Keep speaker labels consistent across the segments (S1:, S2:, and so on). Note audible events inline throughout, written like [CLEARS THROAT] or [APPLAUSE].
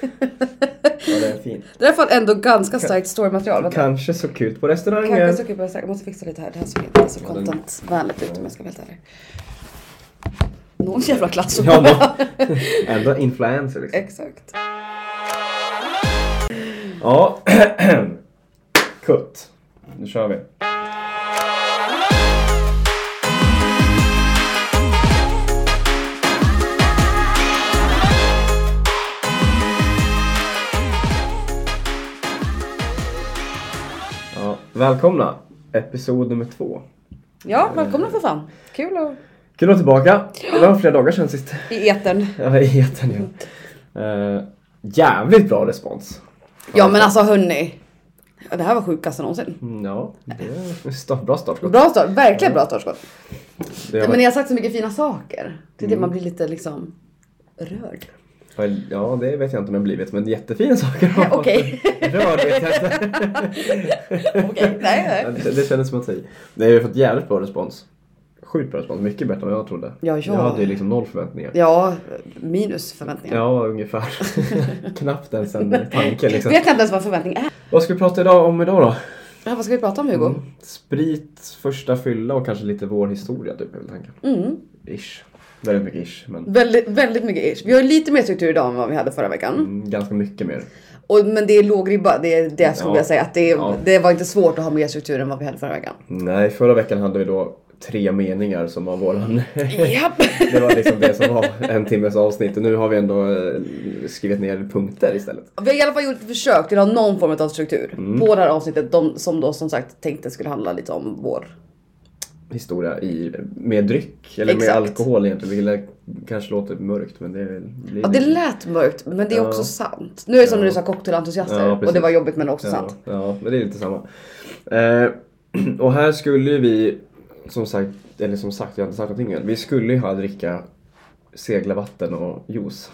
S1: Ja, det är fint.
S2: Det där var ändå ganska starkt storymaterial. Vänta.
S1: Kanske såg ut på restaurangen.
S2: Kanske så kul Jag måste fixa lite här. Det här såg inte så
S1: Ja, den-
S2: contentvänligt ut om jag ska vara helt ärlig. Någon jävla klass.
S1: [LAUGHS] Ja, nå. Ändå influencer liksom.
S2: Exakt.
S1: Ja. [CLEARS THROAT] Kutt. Nu kör vi. Ja, välkomna! Episod nummer två.
S2: Ja, välkomna för fan. Kul och
S1: Kul att vara tillbaka! Det var flera dagar sedan sist.
S2: i etern.
S1: [LAUGHS] Jag heter nu. Uh, jävligt bra respons.
S2: Ja men alltså hörni. Ja, Det här var sjukast någonsin.
S1: Mm, Ja, det är en start, bra startskott.
S2: Bra start, verkligen bra startskott.
S1: Det har
S2: Men
S1: varit,
S2: ni har sagt så mycket fina saker. Det är
S1: Mm.
S2: det man blir lite liksom
S1: [LAUGHS]
S2: rörd.
S1: ja, det vet jag inte om jag blivit, men jättefina saker.
S2: Eh, [LAUGHS] Okej.
S1: Rörd vet jag inte.
S2: Okej, nej, nej.
S1: Det, det kändes som att säga. Nej, vi har fått jävligt bra respons. Sjukt bra respons, mycket bättre än vad jag trodde.
S2: Ja, ja.
S1: Jag hade ju liksom noll förväntningar.
S2: Ja, minus förväntningar.
S1: Ja, ungefär. [LAUGHS] Knappt ens en
S2: [LAUGHS]
S1: tanke liksom.
S2: Vet jag inte ens vad förväntning är.
S1: Vad ska vi prata idag om idag då?
S2: Ja, vad ska vi prata om Hugo?
S1: Mm. Sprit, första fylla och kanske lite vår historia typ, är väl tanken.
S2: Mm.
S1: Ish. Väldigt mycket ish, men
S2: Väldigt, väldigt mycket ish. Vi har ju lite mer struktur idag än vad vi hade förra veckan.
S1: mm, ganska mycket mer.
S2: Och, men det är låg ribba, det är det jag skulle
S1: Ja.
S2: vilja säga. Att det,
S1: Ja.
S2: det var inte svårt att ha mer struktur än vad vi hade förra veckan.
S1: Nej, förra veckan hade vi då tre meningar som var våran... [LAUGHS]
S2: Japp!
S1: det var liksom det som var en timmes avsnitt och nu har vi ändå eh, skrivit ner punkter istället.
S2: [LAUGHS] Vi har i alla fall gjort ett försök till att ha någon form av struktur
S1: Mm.
S2: på det här avsnittet. De som då som sagt tänkte skulle handla lite om vår...
S1: Historia i, med dryck, eller
S2: Exakt.
S1: med alkohol egentligen, vilket kanske låter mörkt men det är- blir...
S2: Ja det lät mörkt men det är
S1: Ja.
S2: också sant. Nu är det som
S1: Ja.
S2: när du sa cocktailentusiaster
S1: Ja,
S2: och det
S1: precis.
S2: var jobbigt men också
S1: ja,
S2: sant.
S1: ja, men det är lite samma. Eh, [CLEARS THROAT] och här skulle ju vi, som sagt, eller som sagt, jag har inte sagt någonting än. Vi skulle ju ha dricka seglavatten och
S2: [LAUGHS]
S1: juice.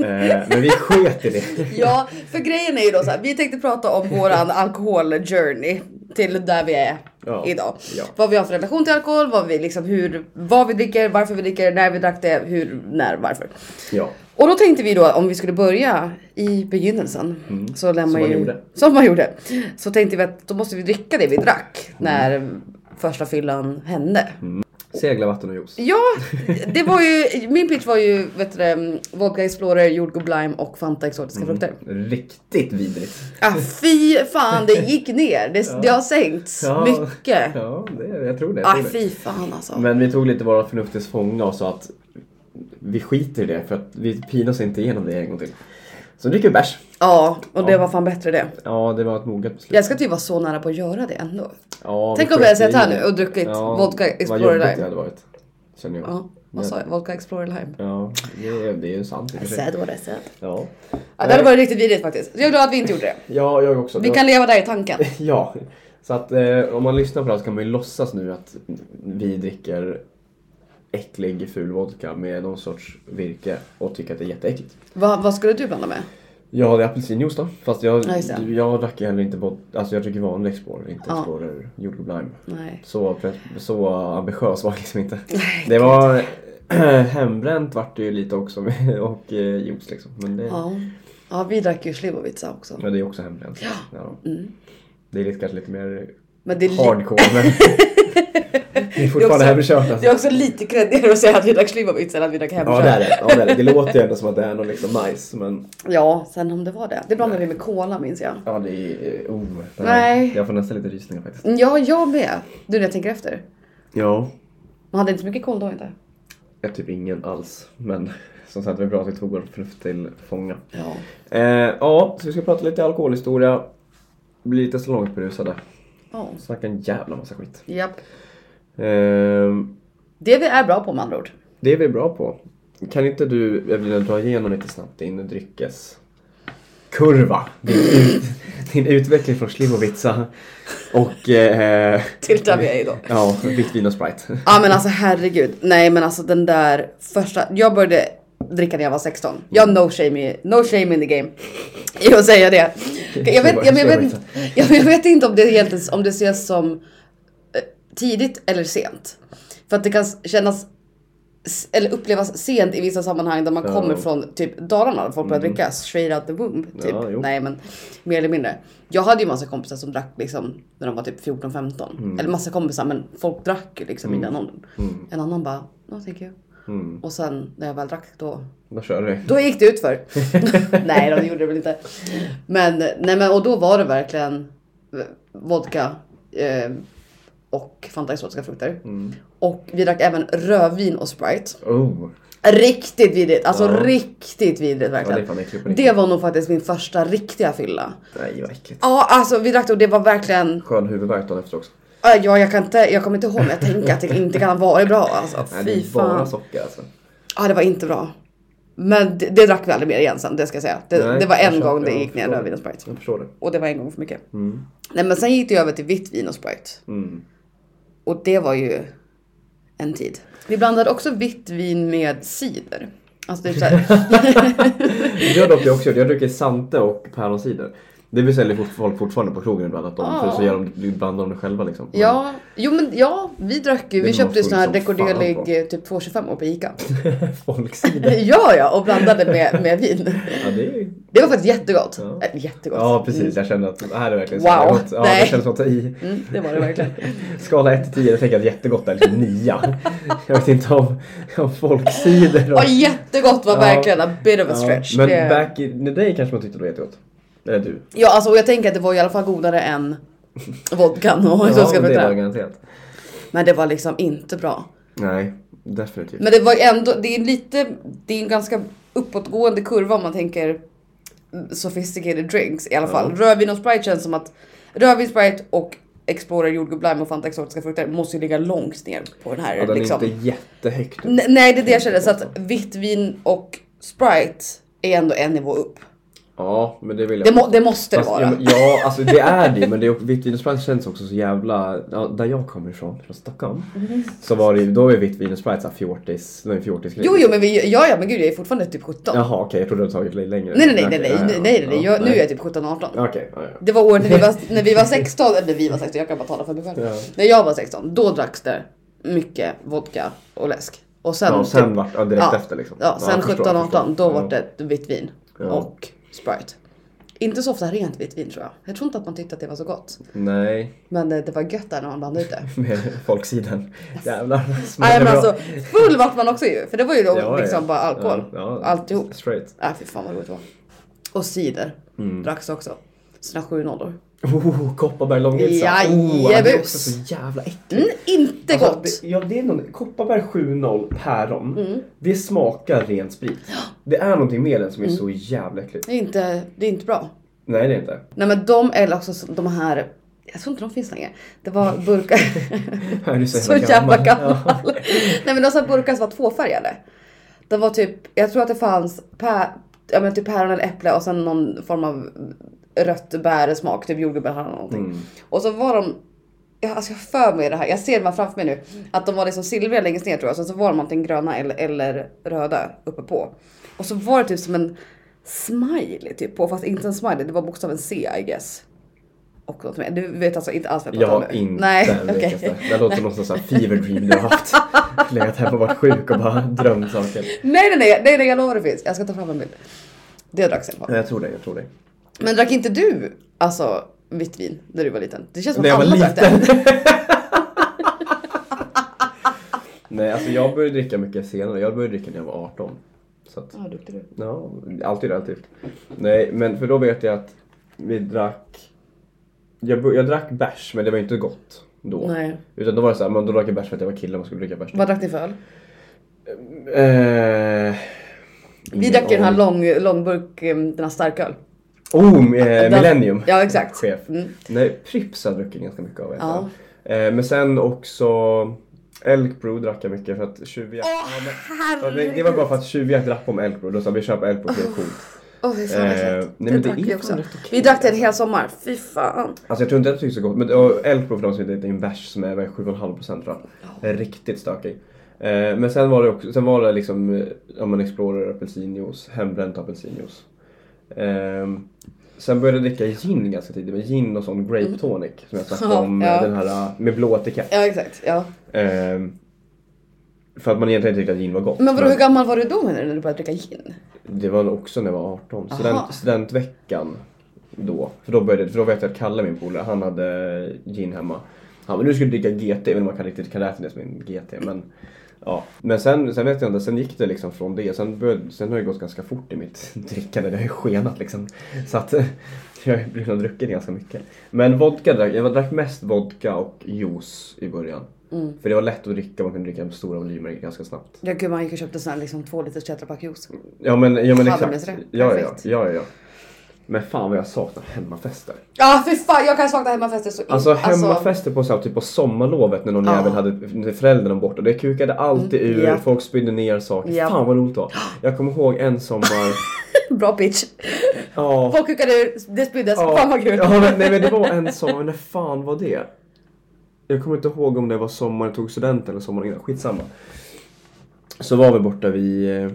S1: eh, men vi sket i det.
S2: Ja för grejen är ju då så här, vi tänkte prata om våran alkoholjourney till där vi är
S1: Ja.
S2: idag.
S1: Ja.
S2: Vad vi har för relation till alkohol, vad vi liksom hur, vad vi dricker, varför vi dricker, när vi drack det, hur, när, varför.
S1: Ja.
S2: Och då tänkte vi då om vi skulle börja i begynnelsen. Så lär
S1: Mm. Som
S2: man
S1: man
S2: ju,
S1: gjorde.
S2: Som man gjorde. Så tänkte vi att då måste vi dricka det vi drack när första fyllan hände.
S1: Mm. Seglavatten och juice.
S2: Ja, det var ju, min pitch var ju vet du, det, Vodka Explorer, jordgubb lime och Fanta
S1: Mm.
S2: exotiska frukter.
S1: Riktigt vidrigt.
S2: Ah, fy fan det gick ner, det, det har sänkts
S1: Ja.
S2: mycket.
S1: Ja, det, jag tror det. Jag
S2: Ah,
S1: tror det.
S2: fy fan alltså.
S1: Men vi tog lite våra förnuftets fånga och sa att vi skiter i det för att vi pinas inte igenom det en gång till. Så dricker vi bärs.
S2: Ja, och det
S1: Ja.
S2: var fan bättre det.
S1: Ja, det var ett moget beslut.
S2: Jag ska typ vara så nära på att göra det ändå.
S1: Ja,
S2: Tänk
S1: vi
S2: om vi hade
S1: sköt
S2: sett här
S1: i det.
S2: nu och druckit vodka Explorer
S1: Vad jobbigt
S2: Lime.
S1: det hade varit. Känner jag.
S2: Ja, vad sa jag? Vodka Explorer lime.
S1: Ja, det är, det är ju sant i och för sig.
S2: Sad what I said.
S1: Ja.
S2: Ja, det hade varit riktigt vidrigt faktiskt. Jag är glad att vi inte gjorde det.
S1: ja, jag också.
S2: Vi kan leva där i tanken.
S1: [LAUGHS] Ja, så att eh, om man lyssnar på det här så kan man ju låtsas nu att vi dricker äcklig ful vodka med någon sorts virke och tycker att det är jätteäckligt.
S2: Vad, vad skulle du blanda med?
S1: Ja, det är apelsinjuice då. Fast jag,
S2: Ja, just det.
S1: jag drack ju heller inte vodka. Alltså jag dricker vanlig Explorer, inte
S2: Ja.
S1: Explorer jordgubb lime.
S2: Nej.
S1: Så, pre- så ambitiös var jag liksom
S2: [LAUGHS]
S1: inte. Det var... [CLEARS THROAT] Hembränt vart det ju lite också med- [LAUGHS] och eh, juice liksom. Men det,
S2: Ja. Ja, vi drack ju Slivovitsa också.
S1: men det är också hembränt. Ja.
S2: Mm.
S1: Det är lite, kanske lite mer
S2: Men det är, li-
S1: hardcore [LAUGHS] men det är fortfarande hemkört alltså.
S2: det är också lite kreddigare att säga att vi drack Slivovitsa än att vi drack
S1: Ja det är
S2: hemkört.
S1: det. Ja, det, är det. det låter ju ändå som att det är någon liksom majs men
S2: Ja, sen om det var det. Det blandade vi med cola minns jag.
S1: ja det är... Oh, det här-
S2: Nej.
S1: Jag får nästan lite rysningar faktiskt.
S2: Ja, jag med. Du när jag tänker efter.
S1: Ja.
S2: Man hade inte så mycket koll då inte.
S1: Jag typ ingen alls men [LAUGHS] som sagt det var bra att vi tog vårt förnuft till fånga.
S2: Ja.
S1: Eh, ja, så vi ska prata lite alkoholhistoria. Bli lite salongsberusade.
S2: Ja.
S1: Snacka en jävla massa skit.
S2: Japp.
S1: Ehm,
S2: Det vi är bra på med andra ord.
S1: det är vi bra på. Kan inte du Evelina dra igenom lite snabbt din dryckeskurva? Din, ut, [LAUGHS] din utveckling från Slivovitsa och eh,
S2: Till där vi är idag.
S1: ja, vitt vin och Sprite.
S2: Ja men alltså herregud. Nej men alltså den där första. Jag började dricka när jag var 16. Jag no shame, i- no shame in the game. [LAUGHS] I att säga det. Jag vet, jag, men jag, vet, inte- jag, jag vet inte om det egentligen om det ses som eh, tidigt eller sent. För att det kan kännas s- eller upplevas sent i vissa sammanhang där man
S1: Ja.
S2: kommer från typ Dalarna där folk börjar dricka straight out the womb. Typ.
S1: Ja, jo.
S2: Nej men mer eller mindre. Jag hade ju massa kompisar som drack liksom när de var typ 14-15.
S1: Mm.
S2: Eller massa kompisar men folk drack ju liksom i den åldern. En annan bara, no thank you.
S1: Mm.
S2: Och sen när jag väl drack då
S1: Då kör vi.
S2: då gick det
S1: [LAUGHS]
S2: ut för. [LAUGHS] nej då, det gjorde det väl inte. Men, nej, men och då var det verkligen vodka eh, och Fanta exotiska frukter.
S1: Mm.
S2: Och vi drack även rödvin och Sprite.
S1: Oh,
S2: Riktigt vidrigt, alltså
S1: Ja.
S2: riktigt vidrigt verkligen.
S1: Ja, det är fan äckligt på
S2: det,
S1: riktigt.
S2: var nog faktiskt min första riktiga fylla.
S1: nej vad äckligt.
S2: Ja, alltså vi drack det och det var verkligen, äh,
S1: Skön huvudvärk dagen efter också.
S2: ja, jag kan inte, jag kommer inte ihåg men jag tänker att det inte kan ha varit bra alltså.
S1: Nej, det
S2: Fy
S1: är bara
S2: fan.
S1: socker alltså.
S2: Ja, det var inte bra. Men det, det drack vi aldrig mer igen sen, det ska jag säga. Det,
S1: Nej,
S2: det var
S1: jag
S2: en
S1: köper-
S2: gång det
S1: jag
S2: gick ner
S1: förstår
S2: rödvin och
S1: det.
S2: Sprite.
S1: Jag förstår det.
S2: Och det var en gång för mycket.
S1: Mm.
S2: Nej, men sen gick det över till vitt vin och Sprite.
S1: Mm.
S2: Och det var ju en tid. Vi blandade också vitt vin med cider. Alltså typ såhär,
S1: Det har dock jag också gjort. Jag dricker Sante och päronsider. Det beställer fort- folk fortfarande på krogen ibland. Att de,
S2: Ja.
S1: För så gör de, blandar de det själva liksom. Men-
S2: ja, jo men ja, vi drack ju,
S1: Det
S2: vi
S1: var
S2: köpte ju
S1: fullt
S2: sån här
S1: som fan
S2: dekordelig
S1: på.
S2: eh, typ 2,25 år på Ica. [LAUGHS]
S1: Folksider.
S2: ja, ja, och blandade med, med vin.
S1: Ja, det är ju...
S2: Det var faktiskt jättegott.
S1: Ja.
S2: Äh, Jättegott.
S1: Ja precis, jag kände att det här är verkligen så
S2: Wow.
S1: jävla gott. Ja,
S2: Nej.
S1: det kändes som att ta i.
S2: Mm, det var
S1: [LAUGHS]
S2: det verkligen.
S1: Skala 1 till 10, jag tänker att jättegott är liksom 9. Jag vet inte om, om folksider och...
S2: Ja, jättegott var
S1: Ja.
S2: verkligen a bit of a stretch.
S1: men
S2: Det-
S1: back in the day kanske man tyckte det var jättegott. Eller du.
S2: Ja, alltså och jag tänker att det var i alla fall
S1: [LAUGHS]
S2: godare än vodkan och
S1: Ja,
S2: så ska
S1: det var
S2: det
S1: garanterat.
S2: Men det var liksom inte bra.
S1: Nej, definitivt.
S2: Men det var ju ändå, det är lite, det är en ganska uppåtgående kurva om man tänker sophisticated drinks i alla fall. Rödvin och Sprite känns som att rödvin, Sprite och Explorer, jordgubb, lime och Fanta exotiska frukter måste ju ligga långt ner på den här.
S1: ja, den är
S2: liksom.
S1: inte jättehögt upp.
S2: N- Nej, det är det jag känner. Så att vitt vin och Sprite är ändå en nivå upp.
S1: Ja, men det vill jag.
S2: Det, må, det måste det
S1: Fast,
S2: vara.
S1: ja, men- ja, alltså det är det ju, men det är också- vitt vin och Sprite känns också så jävla... Ja, där jag kommer ifrån, från Stockholm,
S2: Mm.
S1: så var det ju, då är vitt vin och Sprite såhär fjortis, det är en fjortisgrej.
S2: Jo, jo, men vi, ja, ja, men gud, jag är fortfarande typ 17.
S1: Jaha okej, jag trodde du hade tagit lite längre.
S2: Nej nej nej
S1: Okej,
S2: nej nej,
S1: ja, ja,
S2: nej,
S1: ja.
S2: nej, nej.
S1: Ja,
S2: Jag, nu är jag typ 17-18.
S1: Okej, ja, ja.
S2: Det var året när vi var,
S1: [LAUGHS]
S2: när vi var 16, eller vi var 16, jag kan bara tala för mig själv.
S1: Ja.
S2: När jag var 16, då dracks det mycket vodka och läsk. Och sen,
S1: Ja, och sen vart, ja, direkt
S2: typ. ja,
S1: efter liksom.
S2: ja, sen
S1: jag förstår, jag
S2: 17-18, då
S1: förstår.
S2: var det vitt vin
S1: Ja.
S2: och Sprite. Inte så ofta rent vitt vin tror jag. Jag tror inte att man tyckte att det var så gott.
S1: Nej,
S2: Men eh, det var gött där när man
S1: [LAUGHS]
S2: blandade ut det.
S1: med
S2: [LAUGHS]
S1: folksidan. Jävlar.
S2: Nej men
S1: bra.
S2: alltså, full vart man också ju. För det var ju
S1: [LAUGHS]
S2: då
S1: Ja,
S2: liksom
S1: ja.
S2: bara alkohol.
S1: Ja, ja.
S2: Alltihop.
S1: Straight.
S2: Nej fy fan vad roligt det var. Och cider
S1: Mm.
S2: dracks också. Sina sju nollor.
S1: Oh, Kopparberg Långilsa. Oh, det är
S2: Jajebus.
S1: också så jävla äckligt.
S2: Mm, inte gott!
S1: Typ. Alltså,
S2: Mm.
S1: det, ja, det är någon, Kopparberg 7-0 päron. Det smakar ren
S2: [GASPS]
S1: sprit. Det är någonting med den som är
S2: Mm.
S1: så jävla äckligt.
S2: Det, är inte, det är inte bra.
S1: Nej det är inte.
S2: Nej men de eller också så- de här, jag tror inte de finns längre. Det var burkar,
S1: Här är du
S2: [LAUGHS] så jävla gammal. [LAUGHS] Nej men de här burkar som var tvåfärgade. Det var typ, jag tror att det fanns pä, ja, men typ päron eller äpple och sen någon form av rött bärsmak, typ jordgubbar eller någonting.
S1: Mm.
S2: Och så var de, jag, alltså jag har för mig det här, jag ser det här framför mig nu. Att de var liksom silvriga längst ner tror jag, sen så var de antingen gröna eller, eller röda uppe på. Och så var det typ som en smiley typ på, fast inte en smiley, det var bokstaven C I guess. Och något mer. Du vet alltså inte alls vad jag
S1: Jag
S2: pratar om
S1: har
S2: nu?
S1: inte
S2: Nej,
S1: en
S2: [LAUGHS] okej.
S1: veckaste. Det låter något som sån här fever dream du har
S2: [LAUGHS]
S1: haft. Legat hemma och varit sjuk och bara drömt saker.
S2: Nej, nej, nej, nej, nej, jag lovar det finns. Jag ska ta fram en bild. Det dracks i alla fall.
S1: Nej, jag tror det, jag tror det.
S2: Men drack inte du alltså vitt vin när du var liten? Det känns som
S1: När
S2: att
S1: jag var
S2: alla drack det.
S1: liten. Nej, alltså jag började dricka mycket senare. Jag började dricka när jag var 18. Så att,
S2: Ja, duktig du.
S1: ja, alltid relativt. Nej, men för då vet jag att vi drack... Jag, bör- jag drack bärs, men det var inte gott då.
S2: Nej.
S1: Utan då var det såhär, man då drack jag bärs för att jag var kille och man skulle dricka bärs.
S2: Vad drack ni för öl?
S1: Eh,
S2: Vi
S1: ingen
S2: drack ju den här
S1: aning.
S2: lång, långburk, eh, den här starköl.
S1: Oh, eh, Millennium!
S2: Ja, exakt.
S1: Chef.
S2: Mm.
S1: Nej, Pripps har jag druckit ganska mycket av. vet
S2: Ja.
S1: jag. Eh, men sen också Elk Brew drack jag mycket för att tjuvjakt...
S2: Åh,
S1: Ja, men- ja, det,
S2: herregud!
S1: det var bara för att tjuvjakt drack om Elk Brew. Då sa vi köper Elk Brew för det är coolt.
S2: Åh, fy fan vad
S1: Eh,
S2: äckligt.
S1: nej, men det
S2: drack
S1: är
S2: vi
S1: fan
S2: också.
S1: rätt okej,
S2: Vi drack det en hel sommar. Fy fan.
S1: Alltså jag tror inte att jag tyckte så gott. Men och Elk Brew för de som inte vet det är en bärs som är vad är det, 7,5% tror jag. Riktigt stökig. Eh, men sen var det också, sen var det liksom eh, ja, men Explorer apelsinjuice, hembränt apelsinjuice. Ehm, sen började jag dricka gin ganska tidigt, men gin och sån grape tonic som jag snackade om,
S2: Mm. Ja.
S1: eh, den här eh, med blå etikett.
S2: Ja, exakt. Ja.
S1: Ehm, För att man egentligen inte tyckte att gin var gott.
S2: Men vadå, hur gammal var du då menar du när du började dricka gin?
S1: Det var också när jag var 18.
S2: Aha.
S1: Student, studentveckan då. För då, började, för då vet jag att Kalle, min polare, han hade gin hemma. Han bara, nu ska du dricka GT. Jag vet inte om man kan riktigt kan räkna det som en GT. Men, ja. men sen, sen vet jag inte, sen gick det liksom från det. Sen, började, sen har det gått ganska fort i mitt [LAUGHS] drickande. Det har ju skenat liksom. Så att [LAUGHS] jag har ju druckit ganska mycket. Men vodka, drack- jag drack mest vodka och juice i början. För det var lätt att dricka, man kunde dricka stora volymer ganska snabbt.
S2: Ja gud man gick och köpte sån här liksom två liters tetrapack juice.
S1: Ja men, ja, men
S2: Halvmeter.
S1: exakt. Ja, ja, ja,
S2: Perfekt.
S1: ja, ja. Men fan vad jag saknar hemmafester.
S2: Ja fy fan jag kan sakna hemmafester så in-
S1: Alltså hemmafester på, så här, typ på sommarlovet när någon
S2: Ja. Mm.
S1: jävel hade när föräldrarna var borta. Det kukade alltid ur,
S2: Ja.
S1: folk spydde ner saker.
S2: Ja.
S1: Fan vad roligt
S2: [GASPS]
S1: det var. Jag kommer ihåg en sommar.
S2: Alltså, Bra pitch.
S1: ja.
S2: Folk kukade ur, det spyddes,
S1: Ja.
S2: fan vad kul.
S1: Ja, men, nej men det var en sommar, när fan var det? Jag kommer inte ihåg om det var sommaren jag tog studenten eller sommaren innan, skitsamma. Så var vi borta vid eh,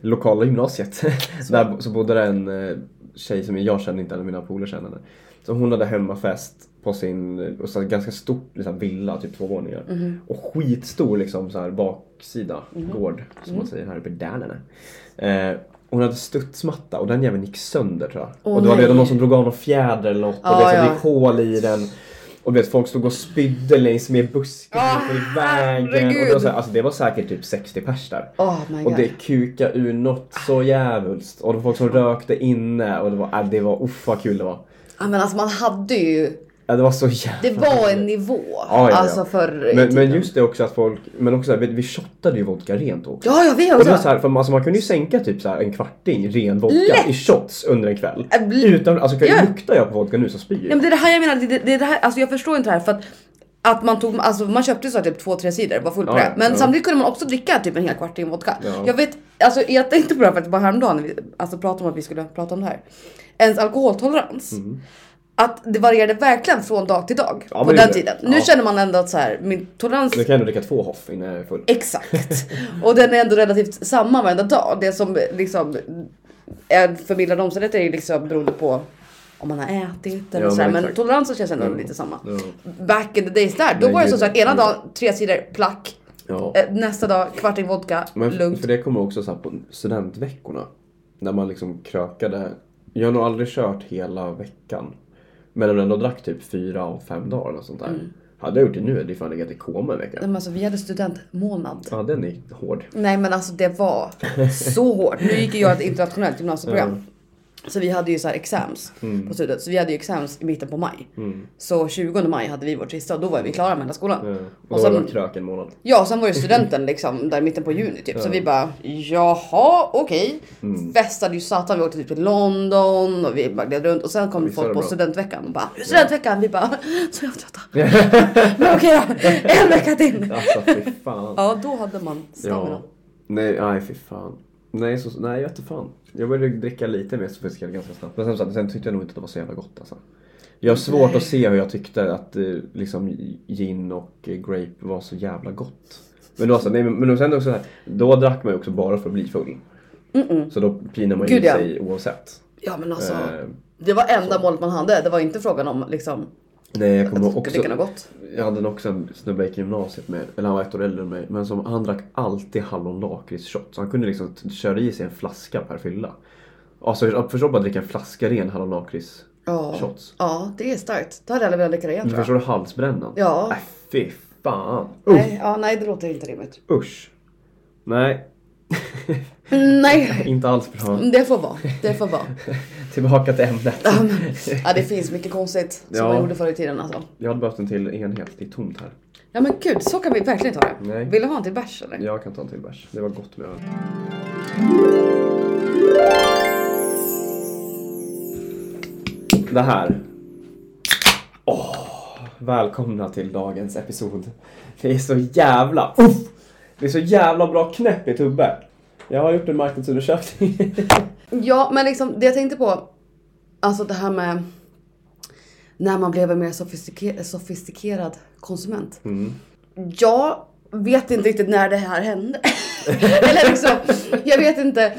S1: lokala gymnasiet. [LAUGHS] Där bo- så bodde det en eh, tjej som jag kände inte, eller mina polare kände henne. Så hon hade hemmafest på sin eh, och så här, ganska stor liksom, villa, typ två våningar.
S2: Mhm.
S1: Och skitstor liksom, så här, baksida, gård som
S2: Mhm.
S1: man säger här uppe i Dalarna. Eh, hon hade studsmatta och den jäveln gick sönder tror jag.
S2: Åh,
S1: och det var
S2: nej.
S1: redan någon som drog av någon fjäder eller något och
S2: Ja,
S1: det, så,
S2: ja.
S1: det gick hål i den. Och du vet folk stod och spydde längs med busken
S2: Ah,
S1: och i vägen. Och det, var
S2: herregud.
S1: så här, alltså, det var säkert typ 60 pers där.
S2: Oh my god. Ah.
S1: Och det kuka ur något så jävulst. Och det var folk som rökte inne och det var, äh, det var uff vad kul det var.
S2: Ja men alltså man hade ju,
S1: Ja, det var så jävla
S2: det var en nivå.
S1: ja, ja.
S2: Alltså förr i
S1: men,
S2: tiden.
S1: men just det också att folk, men också så här, vi, vi shottade ju vodka rent också.
S2: Ja ja vi
S1: Och det var
S2: också.
S1: så här, för man- alltså man kunde ju sänka typ så här en kvarting ren vodka
S2: Lätt!
S1: i shots under en kväll.
S2: Äh, bl-
S1: Utan, alltså kan
S2: Ja.
S1: jag luktar jag på vodka nu så spyr
S2: Ja,
S1: jag.
S2: men det är det här jag menar, det, det, det här, alltså jag förstår inte det här för att att man tog, alltså man köpte så här typ två, tre sidor, var full på
S1: Ja,
S2: det. Men
S1: ja.
S2: samtidigt kunde man också dricka typ en hel kvarting vodka.
S1: Ja.
S2: Jag vet, alltså jag tänkte på det här faktiskt bara häromdagen när vi alltså, pratade om att vi skulle prata om det här. Ens alkoholtolerans. Att det varierade verkligen från dag till dag
S1: Mm. Ja,
S2: på
S1: men
S2: den
S1: det-
S2: tiden.
S1: ja.
S2: Nu känner man ändå att så här, min tolerans
S1: Nu kan jag ändå dricka två Hoff innan jag är full.
S2: Exakt. Och den är ändå relativt samma varenda dag. Det som liksom är förmildrande omständigheter är ju liksom beroende på om man har ätit eller
S1: Ja,
S2: så här.
S1: men
S2: Men
S1: exakt.
S2: toleransen känns ändå
S1: Ja.
S2: lite samma.
S1: Ja.
S2: Back in the days där, då
S1: Nej,
S2: var det
S1: gud,
S2: som sagt ena
S1: gud.
S2: dagen tre sidor plack.
S1: Ja.
S2: eh, Nästa dag kvarting vodka,
S1: Men f-
S2: lugnt.
S1: för det kommer också så här på studentveckorna. När man liksom krökade. Jag har nog aldrig kört hela veckan. Men om jag ändå drack typ fyra av fem dagar eller sånt där.
S2: Mm.
S1: Hade jag gjort det nu hade jag fan legat i koma en vecka.
S2: Nej, men alltså, vi hade studentmånad.
S1: Ja den är hård.
S2: Nej men alltså
S1: [LAUGHS]
S2: det var så hårt. Nu gick ju jag ett internationellt gymnasieprogram. Så vi hade ju så här exams
S1: Mm.
S2: på slutet. Så vi hade ju exams i mitten på maj. Så 20 maj hade vi vårt sista och då var vi klara med hela skolan.
S1: Ja. Och
S2: Och
S1: då var det
S2: sen,
S1: krök en månad.
S2: ja, sen var ju studenten liksom där i mitten på juni typ. Så vi bara jaha okej.
S1: Mm.
S2: Festade ju satan. Vi åkte typ till London och vi bara gled runt. Och sen kom
S1: Visst var
S2: folk
S1: det
S2: på
S1: bra?
S2: studentveckan och bara studentveckan. Vi bara [LAUGHS] så
S1: [LAUGHS]
S2: jag trötta. Men okej då. En vecka till.
S1: Alltså fy fan.
S2: Ja då hade man stamina.
S1: Ja. Nej, nej fy fan. Nej, så, nej jag vet inte fan. Jag började dricka lite mer sofistikerad ganska snabbt. Men sen, så- sen tyckte jag nog inte att det var så jävla gott alltså. Jag har svårt att se hur jag tyckte att eh, liksom, gin och eh, grape var så jävla gott. Men, då, alltså, nej, men, men sen också så här, då drack man ju också bara för att bli full. Så då pinar man ju
S2: Gud, ja.
S1: sig oavsett.
S2: Ja men alltså.
S1: Eh,
S2: Det var enda målet man hade. Det var inte frågan om liksom
S1: nej, jag kommer
S2: att
S1: också...
S2: dricka något gott.
S1: Jag hade också en snubbe i gymnasiet med, eller han var ett år äldre än mig, men som, han drack alltid hallonlakritsshot. Så han kunde liksom t- köra i sig en flaska per fylla. Alltså jag förstår bara att dricka en flaska ren hallonlakrits.
S2: Ja.
S1: Shots.
S2: ja, det är starkt. Det hade jag aldrig velat dricka igen
S1: Du
S2: tror jag.
S1: förstår halsbrännan?
S2: Ja.
S1: Äh, fy fan.
S2: Nej, ja, nej, det låter inte rimligt. [LAUGHS]
S1: Usch. Nej,
S2: Mm, Nej,
S1: inte alls bra.
S2: det får vara. Det får vara.
S1: Tillbaka till ämnet.
S2: Mm. Ja, det finns mycket konstigt som
S1: Ja.
S2: man gjorde förr i tiden alltså.
S1: [LAUGHS] Jag hade behövt en till enhet, det är tomt här.
S2: Ja men gud, så kan vi verkligen ta det.
S1: Nej.
S2: Vill du ha en till bärs eller?
S1: Jag kan ta en till bärs. Det var gott med öl. Det här. Åh, välkomna till dagens episod. Det är så jävla... Uff, det är så jävla bra knäpp i tubbe. Jag har gjort en marknadsundersökning. [LAUGHS]
S2: Ja, men liksom det jag tänkte på. Alltså det här med när man blev en mer sofistike- sofistikerad konsument.
S1: Mm.
S2: Jag vet inte riktigt när det här hände. [LAUGHS] Eller liksom, jag vet inte.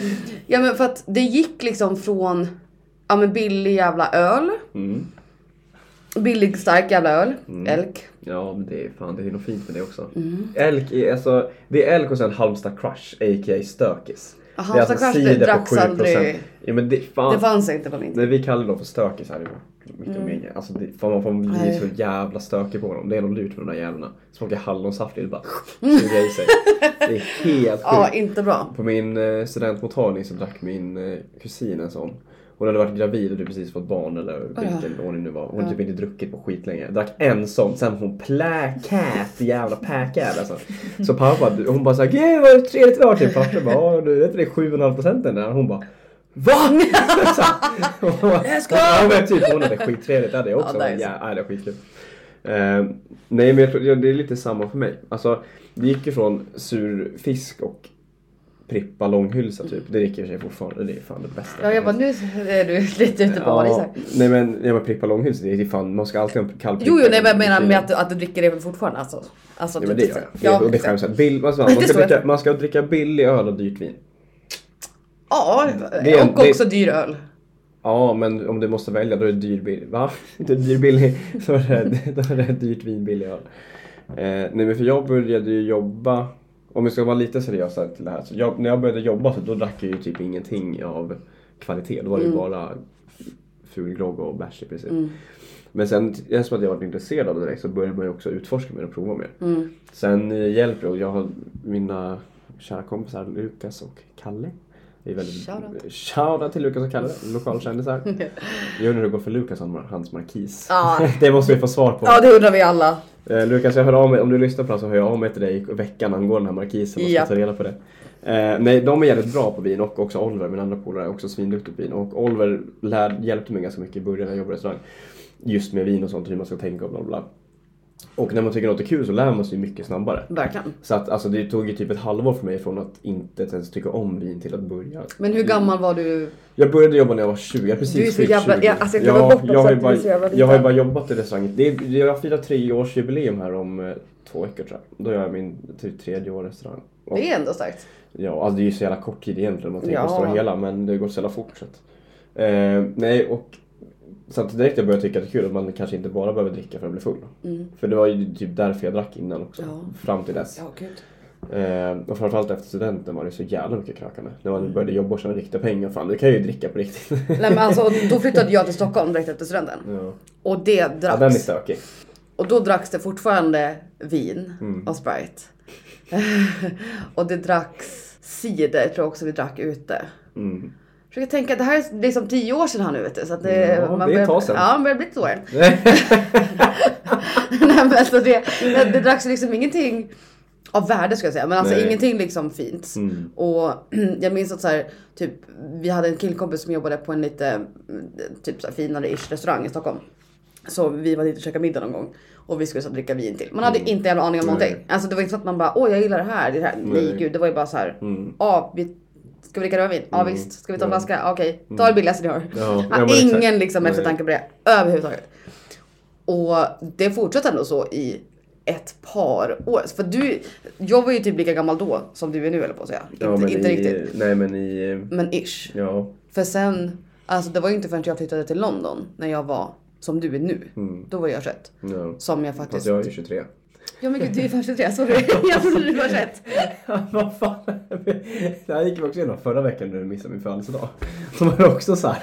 S2: Ja men för att det gick liksom från ja, men billig jävla öl. Billig stark jävla öl.
S1: Mm.
S2: Elk.
S1: Ja, men det är fan, det är något fint med det också.
S2: Mm.
S1: Elk är alltså, det är Elk och sen Halmstad Crush, a.k.a. Stökis.
S2: Ja,
S1: det är alltså
S2: Halmstad Crush, det
S1: cider på
S2: dracks
S1: 7%.
S2: aldrig.
S1: Ja, men det, fan,
S2: Det fanns inte på min tid.
S1: Nej, vi kallar dem för stökis här i mitt umgänge. Alltså, det, fan, man får bli
S2: Mm. Nej.
S1: så jävla stökig på dem. Det är något lurt med de där jävlarna. Smakar hallonsaft i det bara
S2: [LAUGHS]
S1: suga i sig. Det är helt
S2: Ja,
S1: sjukt.
S2: inte bra.
S1: På min eh, studentmottagning så drack min eh, kusin en sån. Hon hade varit gravid och hade precis fått barn eller vilken vad det nu var. Hon hade typ inte druckit på skit länge. Drack en sån, sen var hon pläkät, jävla päkad alltså. Så pappa, hon bara såhär, gud vad trevligt det var typ. Pappa bara, ja du vet det är 7,5 procent den där. Hon bara, VA? Så här. Hon bara,
S2: Jag ska-
S1: Ja men typ hon hade skittrevligt, det hade jag också.
S2: Ja, det är så.
S1: Ja, det är skitkul. Eh, nej men jag tror, ja, det är lite samma för mig. Alltså det gick ju från sur fisk och Prippa långhylsa typ. Det dricker jag i och för sig fortfarande. Det är fan det bästa.
S2: [LAUGHS] Ja, jag bara, nu är du lite ute på hal is här.
S1: Nej men, ja, men Prippa långhylsa, det är fan, man ska alltid ha en kall
S2: Jo, jo, nej, men jag
S1: i
S2: menar
S1: kylen.
S2: med att, du- att du dricker det väl fortfarande alltså. alltså
S1: Ja men det gör jag. Det- och det
S2: exakt.
S1: skäms jag. Bill- vad sa han?
S2: [LAUGHS] Det
S1: Man ska
S2: står jag
S1: dricka-
S2: för.
S1: Man ska dricka billig öl och dyrt vin.
S2: Ja,
S1: Det är-
S2: och
S1: det-
S2: också dyr öl.
S1: Ja, men om du måste välja då är det dyr billig. Va? [LAUGHS] Det är dyr billig. Då är det, då är det dyrt vin billig öl. Eh, nej men för jag började ju jobba, om vi ska vara lite seriösa till det här. Så jag, när jag började jobba så då drack jag ju typ ingenting av kvalitet. Då var det ju bara fulgrogg och bärs i princip. Men sen eftersom att jag varit intresserad av det direkt så började man ju också utforska mer och prova mer.
S2: Mm.
S1: Sen eh, hjälper det och jag har mina kära kompisar Lukas och Kalle. Det är väldigt,
S2: Shoutout.
S1: Shoutout till Lukas och Kalle,
S2: [LAUGHS]
S1: lokalkändisar. Jag undrar hur det går för Lukas och hans markis.
S2: Ja.
S1: [LAUGHS] det måste vi få svar på.
S2: Ja, det undrar vi alla.
S1: Eh, Lukas, jag hör av mig, om du lyssnar på det här så hör jag av mig till dig i veckan angående den här markisen och
S2: Ja.
S1: ska ta reda på det. Eh, nej, de är jävligt bra på vin och också Oliver, min andra polare, är också svinduktig på vin. Och Oliver lär, hjälpte mig ganska mycket i början när jag jobbade i restaurang. Just med vin och sånt, hur man ska tänka och bla bla, bla. Och när man tycker något är kul så lär man sig mycket snabbare.
S2: Verkligen.
S1: Så att, alltså, det tog ju typ ett halvår för mig från att inte ens tycka om vin till att börja.
S2: Men hur gammal var du?
S1: Jag började jobba när jag var 20, jag har precis
S2: Du är så
S1: fyllt
S2: jävla-
S1: 20.
S2: ja, alltså, jag glömmer bort också
S1: jag, har ju
S2: att du är så jävla
S1: bara, jag har ju
S2: liten.
S1: bara jobbat i restaurang. Det är, jag firar treårsjubileum här om eh, två veckor tror jag. Då gör jag min typ, tredje år i restaurang. Och,
S2: Det är ändå starkt.
S1: ja, alltså, det är ju så jävla kort tid egentligen om man tänker på
S2: Ja.
S1: stora hela men det har gått så jävla fort. Så att, eh, nej, och, så att direkt jag började tycka att det är kul att man kanske inte bara behöver dricka för att bli full. För det var ju typ därför jag drack innan också.
S2: Mm. Ja.
S1: Fram till dess.
S2: Ja, gud.
S1: Eh, och framförallt efter studenten var det så jävla mycket krökande. När man började jobba och tjäna riktiga pengar, fan du kan ju dricka på riktigt.
S2: Nej, men alltså, då flyttade jag till Stockholm direkt efter studenten.
S1: ja.
S2: Och det
S1: ja, den är
S2: dracks.
S1: stökig.
S2: Och då dracks det fortfarande vin
S1: Mm.
S2: och Sprite. [LAUGHS] och det dracks cider tror jag också vi drack ute.
S1: Mm.
S2: Försöker tänka, det här är det är som tio år sedan här nu vet du. Så att det,
S1: Ja, det är ett tag
S2: börjar,
S1: sedan.
S2: ja, man börjar bli lite år. [LAUGHS]
S1: [LAUGHS]
S2: Nej men alltså det, det, det dracks ju liksom ingenting av värde ska jag säga. Men alltså
S1: Nej. Mm.
S2: ingenting liksom fint. Och [CLEARS THROAT] jag minns att så här, typ, vi hade en killkompis som jobbade på en lite mm, typ så här, finare ish restaurang i Stockholm. Så vi var dit och käkade middag någon gång och vi skulle så här, dricka vin till. Man hade inte en aning om
S1: Mm. Nej.
S2: någonting. Alltså det var inte så att man bara åh jag gillar det här. Det här. Nej.
S1: Nej.
S2: gud det var ju bara så här.
S1: Mm.
S2: Ja, vi, ska vi dricka rödvin? Ja visst. Ska vi ta en flaska? Ja, Okej, ta det billigaste ni har.
S1: Mm. Ja, ja, men
S2: ingen
S1: exakt.
S2: liksom
S1: Nej.
S2: eftertanke på det överhuvudtaget. Och det fortsatte ändå så i ett par år. För du, jag var ju typ lika gammal då som du är nu eller på att säga. Inte,
S1: Ja, men
S2: inte
S1: i,
S2: riktigt.
S1: Nej men i...
S2: Men ish.
S1: Ja.
S2: För sen, alltså det var ju inte förrän jag flyttade till London när jag var som du är nu. Då var jag 21.
S1: ja.
S2: Som jag
S1: Mm. Fast
S2: faktiskt...
S1: jag är ju 23.
S2: Ja men gud du är fan 23, sorry. jag trodde du var 21.
S1: [LAUGHS] Vad fan. [LAUGHS] Det här gick vi också igenom förra veckan när du missade min födelsedag. Som var det också [LAUGHS] så här.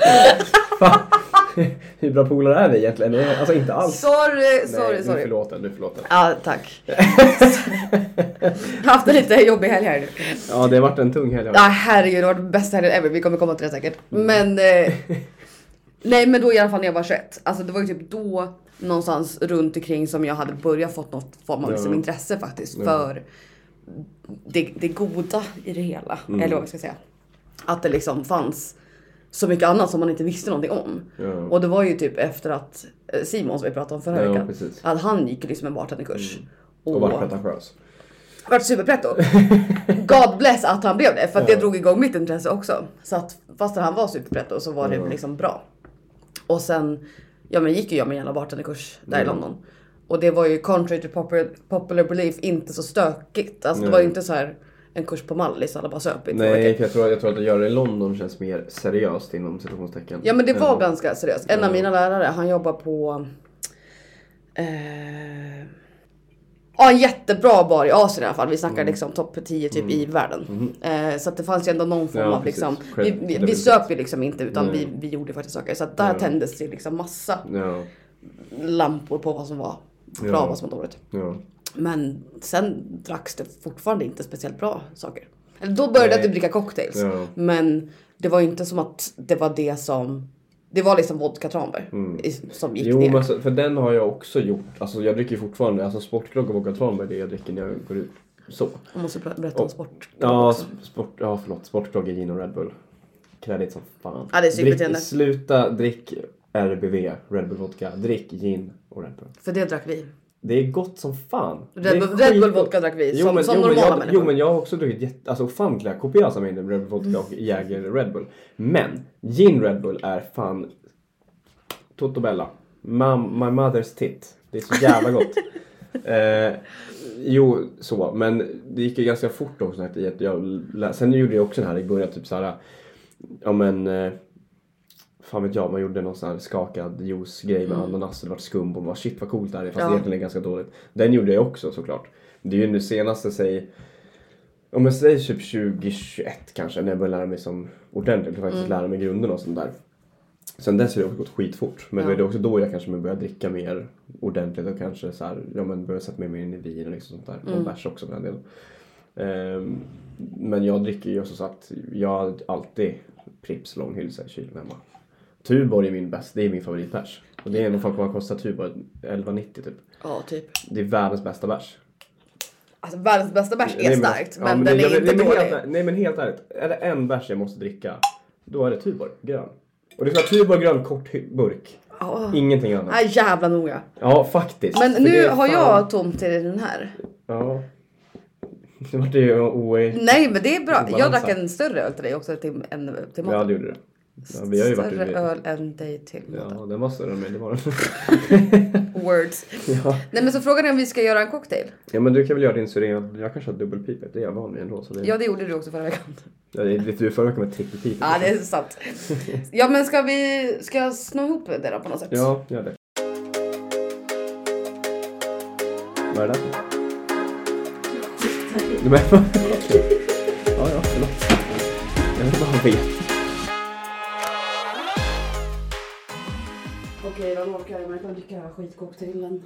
S1: Fan. [LAUGHS] Hur bra polare är vi egentligen? Alltså inte alls.
S2: Sorry, sorry,
S1: nej, Du är
S2: sorry.
S1: förlåten, du är förlåten.
S2: Ja, tack. jag har [LAUGHS] haft en lite jobbig helg här nu.
S1: Ja det har varit en tung helg.
S2: Ja herregud, det har varit bästa helgen ever. Vi kommer komma till det säkert. Men... Eh, nej men då i alla fall när jag var 21. Alltså det var ju typ då någonstans runt omkring som jag hade börjat fått något form av liksom,
S1: Ja.
S2: intresse faktiskt för det, det goda i det hela. Eller vad vi ska säga. Att det liksom fanns så mycket annat som man inte visste någonting om.
S1: Ja.
S2: Och det var ju typ efter att eh, Simon som vi pratade om förra
S1: Ja,
S2: veckan.
S1: precis.
S2: Att han gick ju liksom en bartenderkurs.
S1: Och varit pretentiös.
S2: Vart superpretto. God bless att han blev det för att det drog igång mitt intresse också. Så att fastän han var superpretto så var det liksom bra. Och sen, ja men gick ju jag min jävla bartenderkurs där i London. Och det var ju contrary to popular, popular belief inte så stökigt. Alltså det var ju inte så här en kurs på Mallis alla bara söp i två
S1: Nej
S2: veckor.
S1: för jag tror, jag tror att att göra det i London känns mer seriöst inom citationstecken.
S2: Ja men det var ganska seriöst. En av mina lärare han jobbar på Eh, ja, en jättebra bar i Asien i alla fall. Vi
S1: Mm.
S2: snackar liksom topp 10 typ i världen. Eh, så att det fanns ju ändå någon form
S1: Ja,
S2: av liksom.
S1: precis.
S2: Vi, vi, vi
S1: Credibility.
S2: söp ju liksom inte utan vi, vi gjorde faktiskt saker. Så att där tändes det liksom massa
S1: Ja,
S2: lampor på vad som var bra
S1: Ja.
S2: och vad som var dåligt.
S1: ja.
S2: Men sen dracks det fortfarande inte speciellt bra saker. Eller då började
S1: Nej.
S2: jag typ dricka cocktails.
S1: Ja.
S2: Men det var ju inte som att det var det som... Det var liksom vodka tranbär i- som gick
S1: Mm. Jo,
S2: ner.
S1: men alltså, för den har jag också gjort. Alltså jag dricker ju fortfarande, alltså sportgrogg och vodka tranbär det jag dricker när jag går ut. Så.
S2: Jag måste ber- berätta om
S1: Och-
S2: sport.
S1: Ja, sp- sport, ja förlåt. Sportgrogg är gin och Red Bull. Kredit som fan.
S2: Ja, det är snyggt beteende.
S1: drick, sluta drick RBV, Red Bull Vodka. Drick gin och Red Bull.
S2: För det drack vi.
S1: Det är gott som fan. Det är
S2: Red Bull, Red Bull
S1: skitgott.
S2: vodka drack vi.
S1: Jo,
S2: som
S1: men,
S2: som
S1: jo,
S2: normala
S1: men jag,
S2: människor.
S1: Jo men jag har också druckit jätte, alltså ofantliga kopiösa mängder Red Bull Vodka
S2: Mm.
S1: och Jäger Red Bull. Men gin Red Bull är fan Toto Bella. Mam- my mother's tit. Det är så jävla
S2: [LAUGHS]
S1: gott. eh, jo, så. Men det gick ju ganska fort också. Att jag, jag, lä- sen gjorde jag också den här i början, typ så här. Ja men... Eh, fan vet jag, man gjorde någon sån här skakad juicegrej med ananas och det vart skum och man bara, shit vad coolt det här är. Fast
S2: Ja.
S1: det egentligen är ganska dåligt. Den gjorde jag också såklart. Det är ju nu senaste, säg... Om jag säger typ 2021 kanske, när jag började lära mig som ordentligt. Faktiskt lära mig grunderna och sånt där. Sen dess har det gått skitfort. Men
S2: Ja.
S1: det är också då jag kanske börjar dricka mer ordentligt och kanske så här, ja, men börjar sätta mig mer in i vin och liksom sånt där. Och bärs också för den delen. Ehm, men jag dricker ju som sagt, jag har alltid Pripps långhylsa i kylen hemma. Tuborg är min bäst, det är min favoritbärs. Och det är nog fan vad kostar Tuborg? 11,90 typ.
S2: Ja, typ.
S1: Det är världens bästa bärs.
S2: Alltså, världens bästa bärs
S1: Det
S2: är
S1: min-
S2: starkt,
S1: ja,
S2: men, den
S1: det-
S2: är
S1: ja,
S2: inte
S1: men
S2: dålig.
S1: Helt, nej men helt ärligt, är det en bärs jag måste dricka, då är det Tuborg grön. Och det är sån här Tuborg grön kort hy- burk.
S2: Ja.
S1: Ingenting annat.
S2: Ah. Nej, jävla noga.
S1: Ja, faktiskt.
S2: Men
S1: För det
S2: nu
S1: är
S2: har
S1: fan-
S2: jag tomt till den här.
S1: Ja. Det vart ju oe...
S2: Nej, men det är bra. Jag
S1: Obalansa.
S2: drack en större öl till dig också till, en, till maten.
S1: Ja, det gjorde det. Ja, vi har ju varit
S2: Större
S1: ute.
S2: öl än dig till maten.
S1: Ja, den var större än mig, det var den.
S2: Words.
S1: [LAUGHS] ja.
S2: Nej men så frågan är om vi ska göra en cocktail.
S1: ja, men du kan väl göra din syren. Jag kanske har dubbelpipet, det är jag van vid ändå. Så det...
S2: Ja det gjorde du också förra veckan. [LAUGHS]
S1: Ja, det är lite du förra veckan med trippelpipet.
S2: Ja det är sant. Ja men ska vi, ska jag snå ihop det då på något sätt?
S1: Ja, gör det. Vad är det där för? Nej, Men... [LAUGHS] ja, ja, förlåt. Jag vill bara veta.
S2: Okej då nu orkar jag, men jag kan dricka skitcocktailen.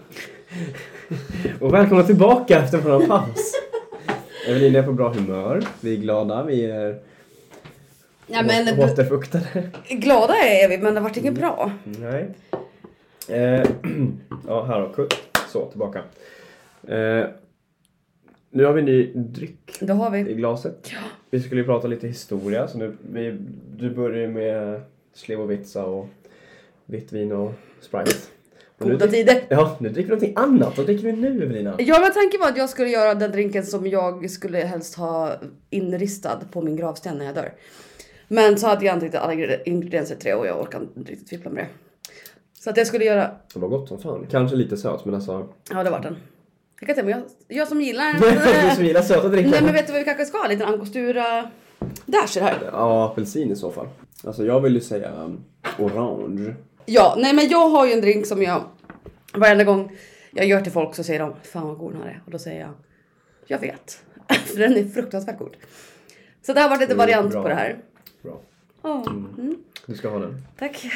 S1: Och välkomna tillbaka efter vår
S2: [LAUGHS]
S1: paus. Evelina är på bra humör. Vi är glada, vi är
S2: Ja men b-
S1: återfuktade.
S2: glada är vi men det vart inget
S1: Mm.
S2: bra.
S1: Nej. Eh, [CLEARS THROAT] ja, här då. Kutt. Så, tillbaka. Eh, nu har vi en ny dryck
S2: Det har
S1: i
S2: vi.
S1: glaset. Vi skulle ju prata lite historia. Så nu, vi, du börjar ju med Slivovitsa och vitt vin och Sprite. Och nu
S2: Goda
S1: drick-
S2: tider.
S1: Ja, nu dricker vi någonting annat. Vad dricker vi nu Evelina?
S2: Ja men tanken var att jag skulle göra den drinken som jag skulle helst ha inristad på min gravsten när jag dör. Men så hade jag inte riktigt alla ingre- ingredienser till det och jag orkar inte riktigt fippla med det. Så att jag skulle göra
S1: Det var gott som fan. Kanske lite söt men alltså.
S2: Ja det var den. Jag kan säga, men jag, jag
S1: [LAUGHS]
S2: som gillar
S1: du som gillar söta drycker.
S2: Nej men vet du vad vi kanske ska ha? En liten angostura. Där ser det här.
S1: Ja, apelsin i så fall. Alltså jag vill ju säga um, orange.
S2: Ja, nej men jag har ju en drink som jag varenda gång jag gör till folk så säger de Fan vad god den här är. Och då säger jag Jag vet. [LAUGHS] För den är fruktansvärt god. Så det här var lite
S1: Mm,
S2: variant
S1: bra. Mm.
S2: på det här.
S1: Bra.
S2: Ja,
S1: Du ska ha den.
S2: tack.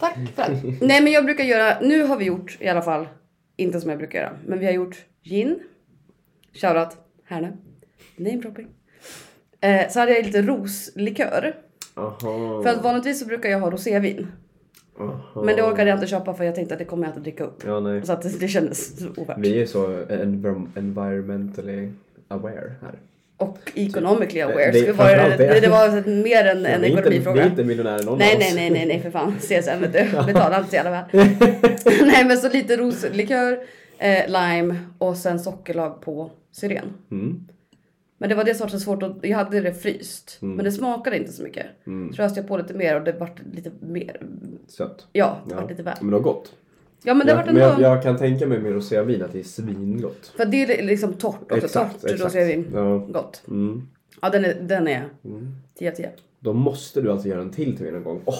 S2: tack för det. Nej men jag brukar göra, nu har vi gjort i alla fall, inte som jag brukar göra, men vi har gjort gin. Shoutout, här nu. Name dropping. Eh, så hade jag lite roslikör.
S1: Aha.
S2: För
S1: Oh.
S2: att vanligtvis så brukar jag ha rosévin.
S1: Aha.
S2: Men det orkade jag inte köpa för jag tänkte att det kommer jag inte dricka upp.
S1: Ja, nej.
S2: Så att det, det kändes så ovärt.
S1: Vi är så env- environmentally aware här.
S2: Och economically
S1: Det-
S2: aware. Det, vara,
S1: framförallt det.
S2: det, det var mer än en
S1: vi, är inte, vi
S2: ekonomifråga.
S1: är inte miljonärer någon
S2: Nej,
S1: av
S2: nej,
S1: oss.
S2: nej, nej, nej
S1: [LAUGHS]
S2: för fan. CSN vet du. Betalar inte så jävla väl. nej, men så lite roslikör, eh, lime och sen sockerlag på syren.
S1: Mm.
S2: Men det var det som var så svårt att, jag hade det fryst. Men det smakade inte så mycket.
S1: Mm.
S2: Så öste jag på lite mer och det vart lite mer,
S1: Sött.
S2: ja det
S1: Ja.
S2: vart lite väl.
S1: Men det var gott.
S2: Ja men det
S1: jag,
S2: vart
S1: men
S2: ändå,
S1: jag, jag kan tänka mig med rosévin att det är svingott.
S2: för det är liksom torrt också. torrt rosévin.
S1: Ja.
S2: Gott.
S1: Mm.
S2: Ja den är, den är 10 av 10.
S1: Då måste du alltså göra en till till mig någon gång. Åh,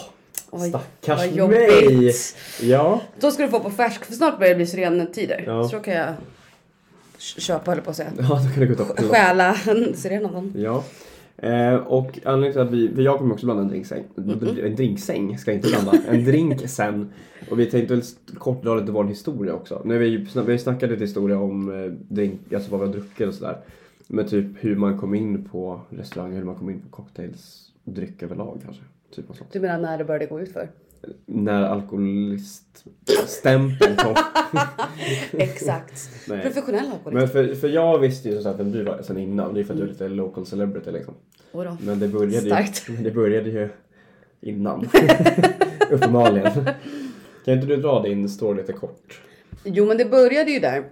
S2: Oj,
S1: Stackars
S2: vad
S1: mig!
S2: jobbigt.
S1: Ja,
S2: Då ska du få på färsk, för snart börjar det bli sirentider.
S1: Ja.
S2: Så då kan jag k- köpa höll jag på att säga.
S1: ja då kan du gå och ta på
S2: Stjäla en siren av dem.
S1: Ja. Eh, och anledningen till att vi, för jag kommer också blanda en drinksäng. En drinksäng ska jag inte blanda. En drink sen. Och vi tänkte väl kort dra lite vår historia också. Nu, har vi, ju sna- vi snackade lite historia om eh, drink, alltså vad vi har druckit och sådär. Men typ hur man kom in på restauranger, hur man kom in på cocktails, dryck överlag kanske. Typ av sånt.
S2: Du menar när det började gå ut för?
S1: När alkoholiststämpeln kom.
S2: Exakt.
S1: Nej.
S2: [LAUGHS] Professionell alkoholist.
S1: Men för, för jag visste ju som sagt vem du var sen innan. Det är för att du är lite local celebrity liksom.
S2: Vadå?
S1: Men det började
S2: Starkt.
S1: ju, men [LAUGHS] det började ju innan. [LAUGHS] Uppenbarligen. Kan inte du dra din story lite kort?
S2: Jo men det började ju där.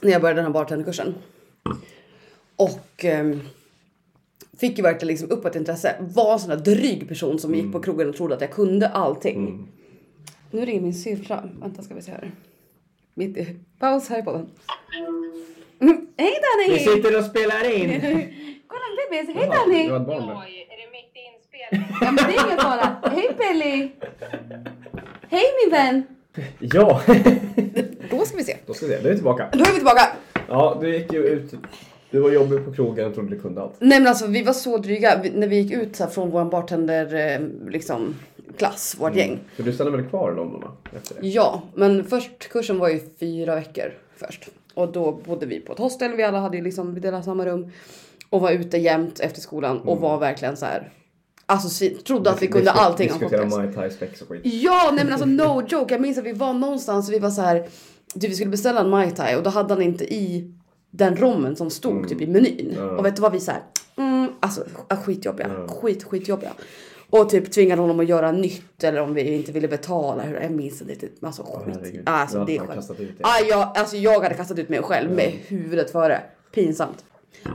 S2: När jag började den här bartenderkursen. Och ehm, fick ju verkligen liksom upp ett intresse. Var en sån där dryg person som gick på
S1: Mm.
S2: krogen och trodde att jag kunde allting. Nu ringer min syrra. Vänta ska vi se här. Mitt i... Paus här i podden. Mm. Hej Danny!
S1: och spelar
S2: [LAUGHS]
S1: in!
S2: Kolla en bebis. Hej Danny!
S1: Du har ett barn där.
S3: Oj, är det mitt i inspelningen?
S2: Ja men det är inget fara. Hej Pelli! Hej min vän!
S1: Ja!
S2: Då ska vi se.
S1: Då ska vi se, då är vi tillbaka.
S2: Då är vi tillbaka.
S1: Ja, du gick ju ut. Du var jobbig på krogen och trodde du kunde allt.
S2: Nej men alltså vi var så dryga vi, när vi gick ut så här, från vår bartender eh, liksom klass, vårt gäng.
S1: För du stannade väl kvar i London va? efter det?
S2: Ja, men först kursen var ju fyra veckor först och då bodde vi på ett hostel. Vi alla hade ju liksom vi delade samma rum och var ute jämt efter skolan och var verkligen så här. Alltså svin- trodde att Mm. vi kunde
S1: Disku-
S2: allting om
S1: Diskutera
S2: podcast.
S1: Mai Tai spex och skit.
S2: Ja, nej men alltså no joke. Jag minns att vi var någonstans och vi var så här. Du, vi skulle beställa en Mai Tai och då hade han inte i den rommen som stod typ i menyn.
S1: Mm. Ja.
S2: Och vet du vad vi så här. Mm, alltså sk- skitjobbiga. Skit, skitjobbiga. Och typ tvingade honom att göra nytt eller om vi inte ville betala. Hur- Jag minns inte riktigt. men Alltså skit.
S1: herregud.
S2: alltså
S1: Jag
S2: det är
S1: hade fan
S2: skönt.
S1: kastat ut det.
S2: Ah, jag, alltså jag hade kastat ut mig själv med huvudet före. Pinsamt.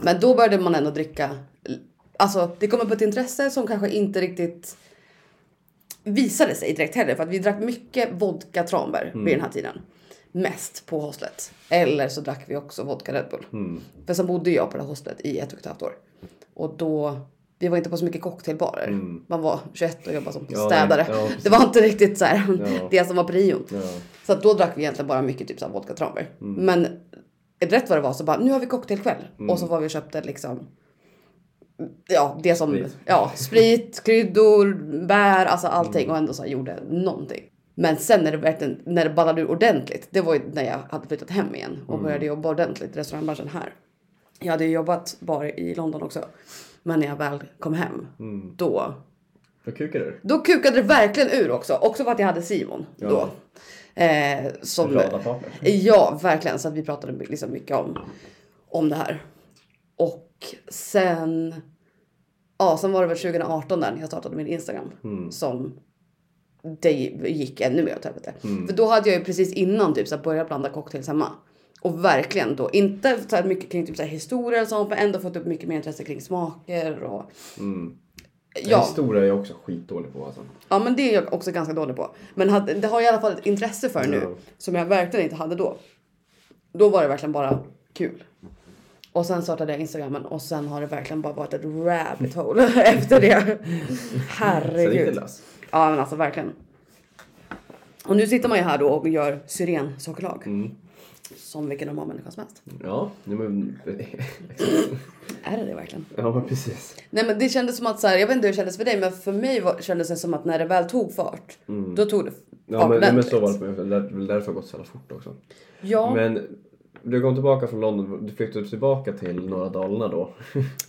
S2: Men då började man ändå dricka. Alltså det kom upp ett intresse som kanske inte riktigt visade sig direkt heller för att vi drack mycket vodka tranbär
S1: Mm.
S2: vid den här tiden. Mest på hostlet. Eller så drack vi också vodka Red Bull.
S1: Mm.
S2: För sen bodde jag på det här hostlet i ett och ett halvt år. Och då, vi var inte på så mycket cocktailbarer. Man var 21 och jobbade som
S1: Mm. Ja,
S2: städare.
S1: nej, ja, precis.
S2: det var inte riktigt så här,
S1: Ja.
S2: [LAUGHS] det som var prion.
S1: Ja.
S2: Så att då drack vi egentligen bara mycket typ så här vodka tranbär. Men rätt vad det var så bara, nu har vi cocktailkväll. Och så var vi och köpte liksom ja, det som,
S1: Sprit.
S2: ja, sprit, kryddor, bär, alltså allting och ändå så här gjorde någonting. Men sen när det verkligen, när det ballade ur ordentligt, det var ju när jag hade flyttat hem igen och började jobba ordentligt i restaurangbranschen här. Jag hade ju jobbat bara i London också. Men när jag väl kom hem, då
S1: Då kukade du.
S2: då kukade det verkligen ur också. Också för att jag hade Simon då. Eh, som,
S1: Radarpartner.
S2: ja, verkligen. Så att vi pratade my- liksom mycket om, om det här. Och sen... Ja, sen var det väl 2018 där när jag startade min Instagram. Som det gick ännu mer åt helvete. För då hade jag ju precis innan typ så här, börjat blanda cocktails hemma. Och verkligen då, inte så här mycket kring typ så här historia och sånt, men ändå fått upp mycket mer intresse kring smaker och...
S1: Ja. Historia är jag också skitdålig på alltså.
S2: Ja men det är jag också ganska dålig på. Men hade, det har jag i alla fall ett intresse för nu.
S1: Ja.
S2: Som jag verkligen inte hade då. Då var det verkligen bara kul. Och sen startade jag instagramen och sen har det verkligen bara varit ett rabbit hole [LAUGHS] efter det.
S1: Sen gick det
S2: Herregud.
S1: lös.
S2: Ja men alltså verkligen. Och nu sitter man ju här då och gör syrensakerlag. Som vilken normal människa som helst.
S1: Mm. Ja, nej, men...
S2: Är det det verkligen?
S1: [LAUGHS] ja men precis.
S2: Nej men det kändes som att så här, jag vet inte hur det kändes för dig men för mig var, kändes det som att när det väl tog fart.
S1: Mm.
S2: Då tog det fart
S1: Ja, men, nej, men så
S2: ordentligt.
S1: var det för mig också. Det är väl därför det har gått så jävla fort också.
S2: Ja.
S1: Men du kom tillbaka från London, du flyttade tillbaka till norra Dalarna då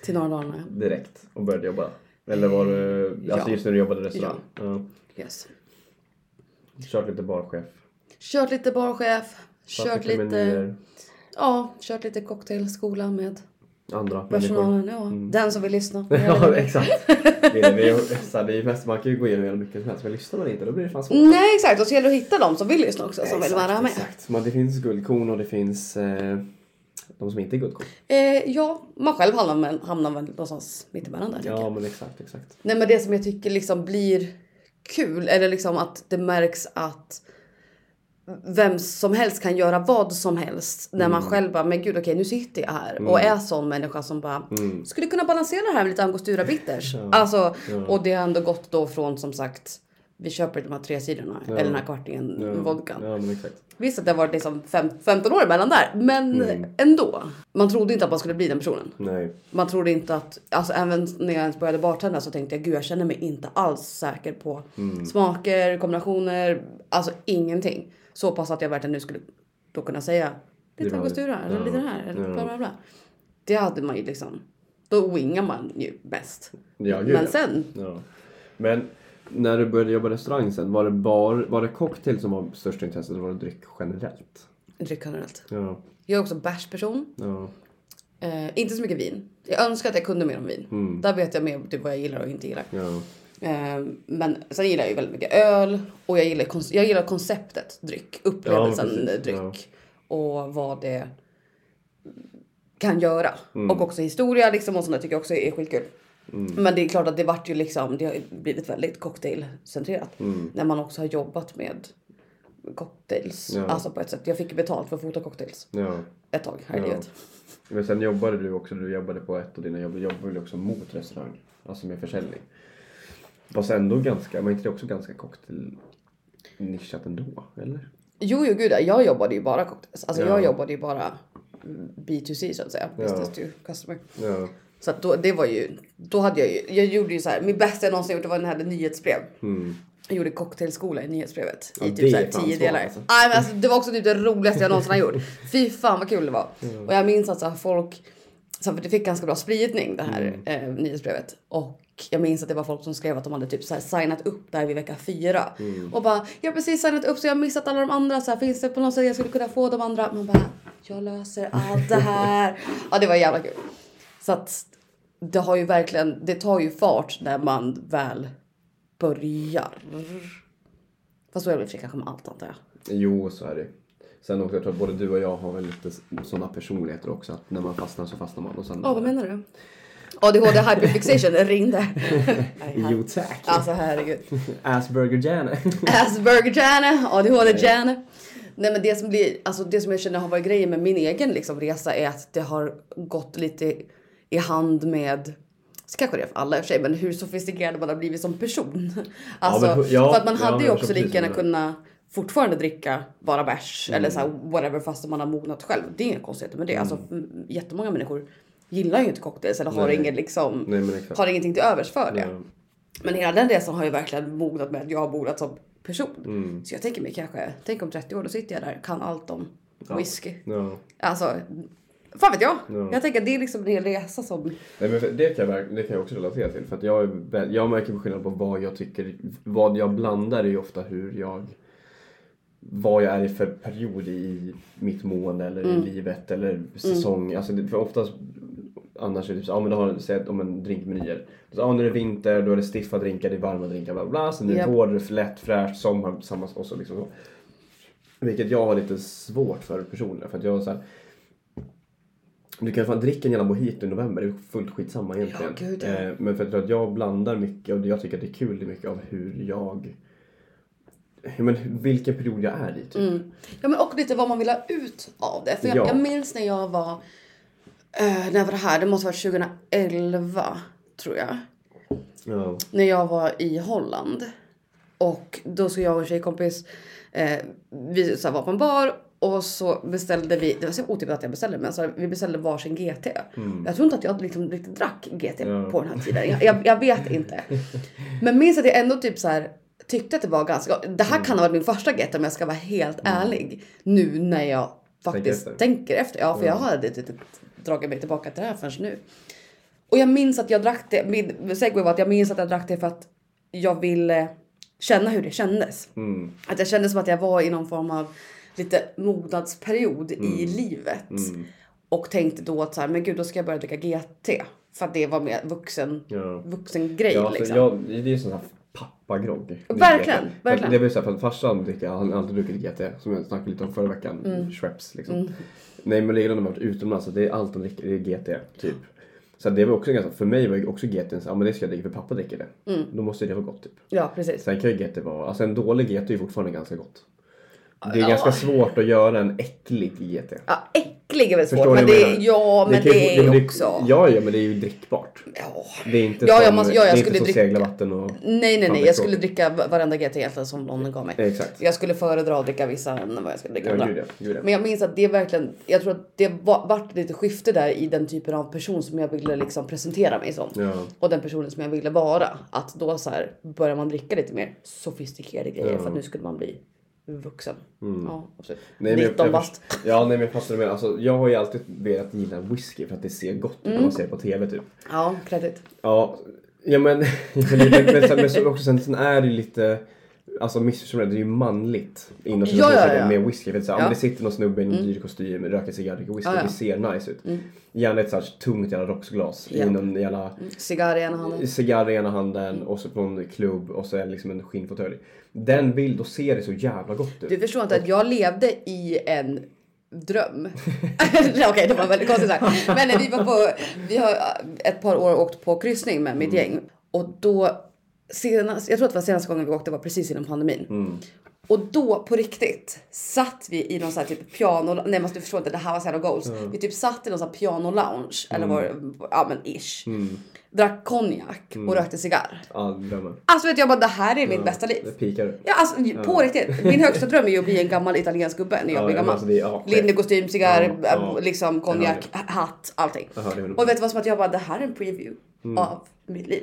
S2: Till norra Dalarna,
S1: direkt och började jobba? Eller var du, alltså
S2: Mm, Ja.
S1: just när du jobbade i restaurang? Ja.
S2: ja. Yes.
S1: Kört lite barchef?
S2: Kört lite barchef, kört lite,
S1: menyer,
S2: ja, kört lite cocktailskola med
S1: andra människor? Mm.
S2: personalen. Ja. Den som vill lyssna.
S1: [LAUGHS] Ja exakt! Det är, vi, [LAUGHS] så här, det är ju mest, man kan ju gå igenom hur mycket som helst men lyssnar man inte då blir det fan svårt.
S2: Nej exakt, och så gäller det att hitta dem som vill lyssna också, som Mm, vill
S1: Exakt,
S2: vara med.
S1: Exakt, men det finns guldkorn och det finns eh, de som inte är guldkorn.
S2: Eh, ja, man själv hamnar, väl- hamnar väl någonstans mitt emellan där.
S1: Ja men exakt, exakt.
S2: Nej men det som jag tycker liksom blir kul eller liksom att det märks att vem som helst kan göra vad som helst när
S1: Mm.
S2: man själv bara, men gud okej nu sitter jag här och är sån människa som bara
S1: Mm.
S2: skulle kunna balansera det här med lite angostura bitters. Alltså, och det har ändå gått då från som sagt vi köper de här tre sidorna
S1: Ja.
S2: eller den här kvartingen
S1: Ja,
S2: vodkan.
S1: Ja, men exakt.
S2: Visst att det har varit liksom fem, 15 år mellan där, men
S1: Mm.
S2: ändå. Man trodde inte att man skulle bli den personen.
S1: Nej.
S2: Man trodde inte att, alltså även när jag ens började bartendra så tänkte jag gud jag känner mig inte alls säker på
S1: Mm.
S2: smaker, kombinationer, alltså ingenting. Så pass att jag verkligen nu skulle då kunna säga lite
S1: Det var-
S2: angostura eller
S1: ja,
S2: lite det här eller
S1: ja.
S2: bla bla bla. Det hade man ju liksom, då wingar man ju bäst.
S1: Ja, gud,
S2: Men
S1: ja.
S2: sen,
S1: Ja. Men när du började jobba i restaurang sen, var det, bar, var det cocktail som var största intresset eller var det dryck generellt?
S2: dryck generellt.
S1: Ja.
S2: Jag är också bärsperson.
S1: Ja.
S2: Eh, inte så mycket vin. Jag önskar att jag kunde mer om vin.
S1: Mm.
S2: Där vet jag mer typ, vad jag gillar och inte gillar.
S1: Ja.
S2: Eh, men sen gillar jag ju väldigt mycket öl och jag gillar, kon- jag gillar konceptet dryck,
S1: Ja,
S2: upplevelsen
S1: men precis.
S2: dryck och vad det kan göra.
S1: Mm.
S2: Och också historia liksom och sånt där tycker jag också är skitkul. Men det är klart att det vart ju liksom, det har ju blivit väldigt cocktailcentrerat.
S1: Mm.
S2: När man också har jobbat med cocktails.
S1: Ja.
S2: Alltså på ett sätt. Jag fick ju betalt för att fota cocktails
S1: ja.
S2: ett tag här i
S1: Ja.
S2: livet.
S1: Men sen jobbade du också, du jobbade på ett av dina jobb, du jobbade väl också mot restaurang, alltså med försäljning. Fast ändå ganska, var inte det också ganska cocktail-nischat ändå? Eller?
S2: Jo, jo, gud ja. Jag jobbade ju bara cocktails. Alltså jag
S1: Ja.
S2: jobbade ju bara mm, B2C så att säga. Business to customer.
S1: Ja.
S2: Så att då, det var ju, då hade jag ju, jag gjorde ju så här, min bästa jag någonsin gjort det var när jag hade nyhetsbrev. Jag gjorde cocktailskola i nyhetsbrevet i
S1: Ja, det
S2: typ så här
S1: är fan
S2: tio
S1: svårt,
S2: delar.
S1: alltså.
S2: Nej, men alltså, det var också typ det roligaste jag någonsin
S1: [LAUGHS]
S2: har gjort. Fy fan vad kul det var.
S1: Mm.
S2: Och jag minns att så här, folk, så här, för det fick ganska bra spridning det här
S1: Mm.
S2: eh, nyhetsbrevet. Och jag minns att det var folk som skrev att de hade typ så här, signat upp där vid vecka fyra.
S1: Mm.
S2: Och bara, jag har precis signat upp så jag har missat alla de andra. Så här, finns det på något sätt jag skulle kunna få de andra? Man bara, jag löser allt
S1: [LAUGHS]
S2: det här. ja, det var jävla kul. Så att det har ju verkligen, det tar ju fart när man väl börjar. Fast så är det i och för sig kanske med allt antar jag.
S1: Jo, så är det Sen också, jag tror att både du och jag har väl lite sådana personligheter också att när man fastnar så fastnar man och sen...
S2: Ja, vad menar du? ADHD hyperfixation ringde.
S1: Jo tack!
S2: alltså herregud.
S1: Asperger Jane! [LAUGHS]
S2: Asperger Janne, ADHD Janne. Nej men det som, blir, alltså det som jag känner har varit grejen med min egen liksom resa är att det har gått lite i hand med så kanske det är för alla i och för sig, men hur sofistikerad man har blivit som person. Alltså,
S1: men hu- ja,
S2: för att man
S1: ja,
S2: hade ju
S1: jag
S2: också
S1: förstår
S2: lika gärna
S1: precis Mm. vad
S2: kunnat fortfarande dricka bara bärs eller så här, whatever fast man har mognat själv. Det är inga konstigheter med det. Alltså, m- jättemånga människor gillar ju inte cocktails eller har,
S1: Mm. Nej.
S2: ingen, liksom,
S1: Nej, men exakt.
S2: har ingenting till övers för det.
S1: Ja.
S2: Men hela den resan har ju verkligen mognat med att jag har mognat som person.
S1: Mm.
S2: Så jag tänker mig kanske, tänk om 30 år, då sitter jag där kan allt om whisky.
S1: Ja.
S2: Alltså, fan vet jag.
S1: Ja.
S2: Jag tänker att det är liksom en hel resa som...
S1: Nej, men för- det, kan jag, verk- det kan jag också relatera till. För att jag, är väl- jag märker skillnad på vad jag tycker, vad jag blandar är ju ofta hur jag, vad jag är i för period i mitt mående eller i livet eller säsong. Alltså, det- för oftast annars är det typ så, ja men då har du sett om en drinkmenyer. Så, ja, nu är det vinter, då är det stiffa drinkar, det är varma drinkar, bla bla, bla. Sen är det
S2: Japp.
S1: vår, det är lätt, fräscht, sommar, samma och så liksom. så. Vilket jag har lite svårt för personligen. För att jag så här, du kan fan dricka en jävla mojito i november, det är fullt skitsamma egentligen.
S2: Ja, gud, ja.
S1: Eh, Men för att jag tror att jag blandar mycket och jag tycker att det är kul mycket av hur jag... Ja, men vilken period jag är i typ.
S2: Mm. Ja men och lite vad man vill ha ut av det. För jag,
S1: Ja.
S2: jag minns när jag var... eh, när jag var här, det måste ha varit 2011 tror jag.
S1: Ja.
S2: när jag var i Holland. Och då så jag och en tjejkompis, eh, vi så här var på en bar och så beställde vi, det var så otippat att jag beställde men så här, vi beställde varsin GT. Jag tror inte att jag liksom riktigt drack GT
S1: Ja.
S2: på den här tiden. Jag, jag, jag vet inte. Men minns att jag ändå typ så här tyckte att det var ganska, det här kan ha varit min första GT om jag ska vara helt ärlig. Nu när jag faktiskt
S1: efter.
S2: tänker efter. Ja, för jag hade typ inte riktigt dragit mig tillbaka till det här förrän nu. Och jag minns att jag drack det, min segway var att jag minns att jag drack det för att jag ville känna hur det kändes.
S1: Mm.
S2: Att jag kände som att jag var i någon form av lite mognadsperiod
S1: Mm.
S2: i livet. Och tänkte då att så här, men gud då ska jag börja dricka GT. För att det var mer vuxen,
S1: Ja.
S2: vuxen grej
S1: Ja, alltså,
S2: liksom.
S1: jag, det är ju sån här pappagrogg.
S2: Verkligen,
S1: För att
S2: verkligen.
S1: Det blir så här, för att farsan dricker, han har alltid druckit GT som jag snackade lite om förra veckan,
S2: Mm.
S1: Schweppes liksom. Nej men det är när man har varit utomlands, så det är allt han dricker, det är GT typ. Så det var också ganska, för mig var ju också GT en sån, ja men det ska jag dricka för pappa dricker
S2: Mm.
S1: det. Då måste ju det vara gott typ.
S2: Ja precis.
S1: Sen kan ju GT vara, alltså en dålig GT är ju fortfarande ganska gott. Det är ganska svårt att göra en äcklig GT.
S2: Ja, äcklig är väl svårt,
S1: Förstår
S2: men
S1: ni vad
S2: det
S1: jag menar?
S2: är, ja men
S1: kan ju-
S2: det
S1: ja, men
S2: är också.
S1: Ja, ja, men det är ju drickbart.
S2: Ja.
S1: Det är inte
S2: Ja,
S1: som,
S2: jag måste- ja, jag
S1: det är
S2: skulle
S1: inte som
S2: dricka.
S1: seglarvatten och...
S2: Nej, nej,
S1: Fan,
S2: nej.
S1: det är
S2: Jag skulle
S1: tråkigt.
S2: dricka va- varenda GT egentligen som någon gav mig.
S1: Exakt.
S2: Jag skulle föredra att dricka vissa än vad jag skulle dricka
S1: Ja,
S2: andra.
S1: gud ja, gud ja.
S2: Men jag minns att det verkligen, jag tror att det var, vart lite skifte där i den typen av person som jag ville liksom presentera mig som.
S1: Ja.
S2: Och den personen som jag ville vara. Att då så här börjar man dricka lite mer sofistikerade grejer
S1: Ja. Mm.
S2: för att nu skulle man bli vuxen. Ja, absolut.
S1: Nej, men jag-
S2: 19
S1: jag-
S2: bast.
S1: Ja, nej men jag fattar vad du menar. Alltså, jag har ju alltid velat gilla whisky för att det ser gott ut när
S2: Mm.
S1: man ser på TV typ.
S2: Ja, kredit.
S1: Ja, ja men, [LAUGHS] men, men, men, sen- men så- också sen, sen är det ju lite Alltså missförstå mig rätt, det är ju manligt inom
S2: ja, ja.
S1: situationen med whisky. För det, är så här, ja.
S2: Ja. Mm.
S1: men det sitter någon snubbe i en dyr kostym, röker cigarr, dricker whisky.
S2: Ja, ja.
S1: Det ser nice ut. Gärna ett så här tungt jävla rocksglas
S2: Ja.
S1: i någon jävla
S2: Mm. Cigarr i ena handen.
S1: cigarr i ena handen och så på en klubb och så är det liksom en skinnfåtölj. Den vill, då ser det så jävla gott ut.
S2: Du förstår inte att jag levde i en dröm. [LAUGHS] Okej, det var väldigt konstigt sagt. Men när vi var på, vi har eh, ett par år åkt på kryssning med mitt gäng och då senast, jag tror att det var senaste gången vi åkte var precis innan pandemin.
S1: Mm.
S2: Och då på riktigt satt vi i någon sån här typ piano, nej men alltså, du förstår inte, det här var så jävla goals. Vi typ satt i någon sån här piano lounge eller var, ja men ish. Drack konjak och rökte cigarr.
S1: Ja, drömmen.
S2: Alltså vet jag bara det här är mitt bästa liv.
S1: Det pikar.
S2: Ja, alltså på riktigt. Min högsta dröm är ju att bli en gammal italiensk gubbe när jag
S1: Ja,
S2: blir
S1: ja,
S2: gammal.
S1: alltså det är- ja, själv.
S2: Linnekostym, cigarr,
S1: Ja, ja.
S2: äh, liksom konjak, hatt, allting.
S1: Ja, Mm. det är väl-
S2: och vet du vad som att jag bara, det här är en preview av
S1: [LAUGHS]
S2: mitt liv.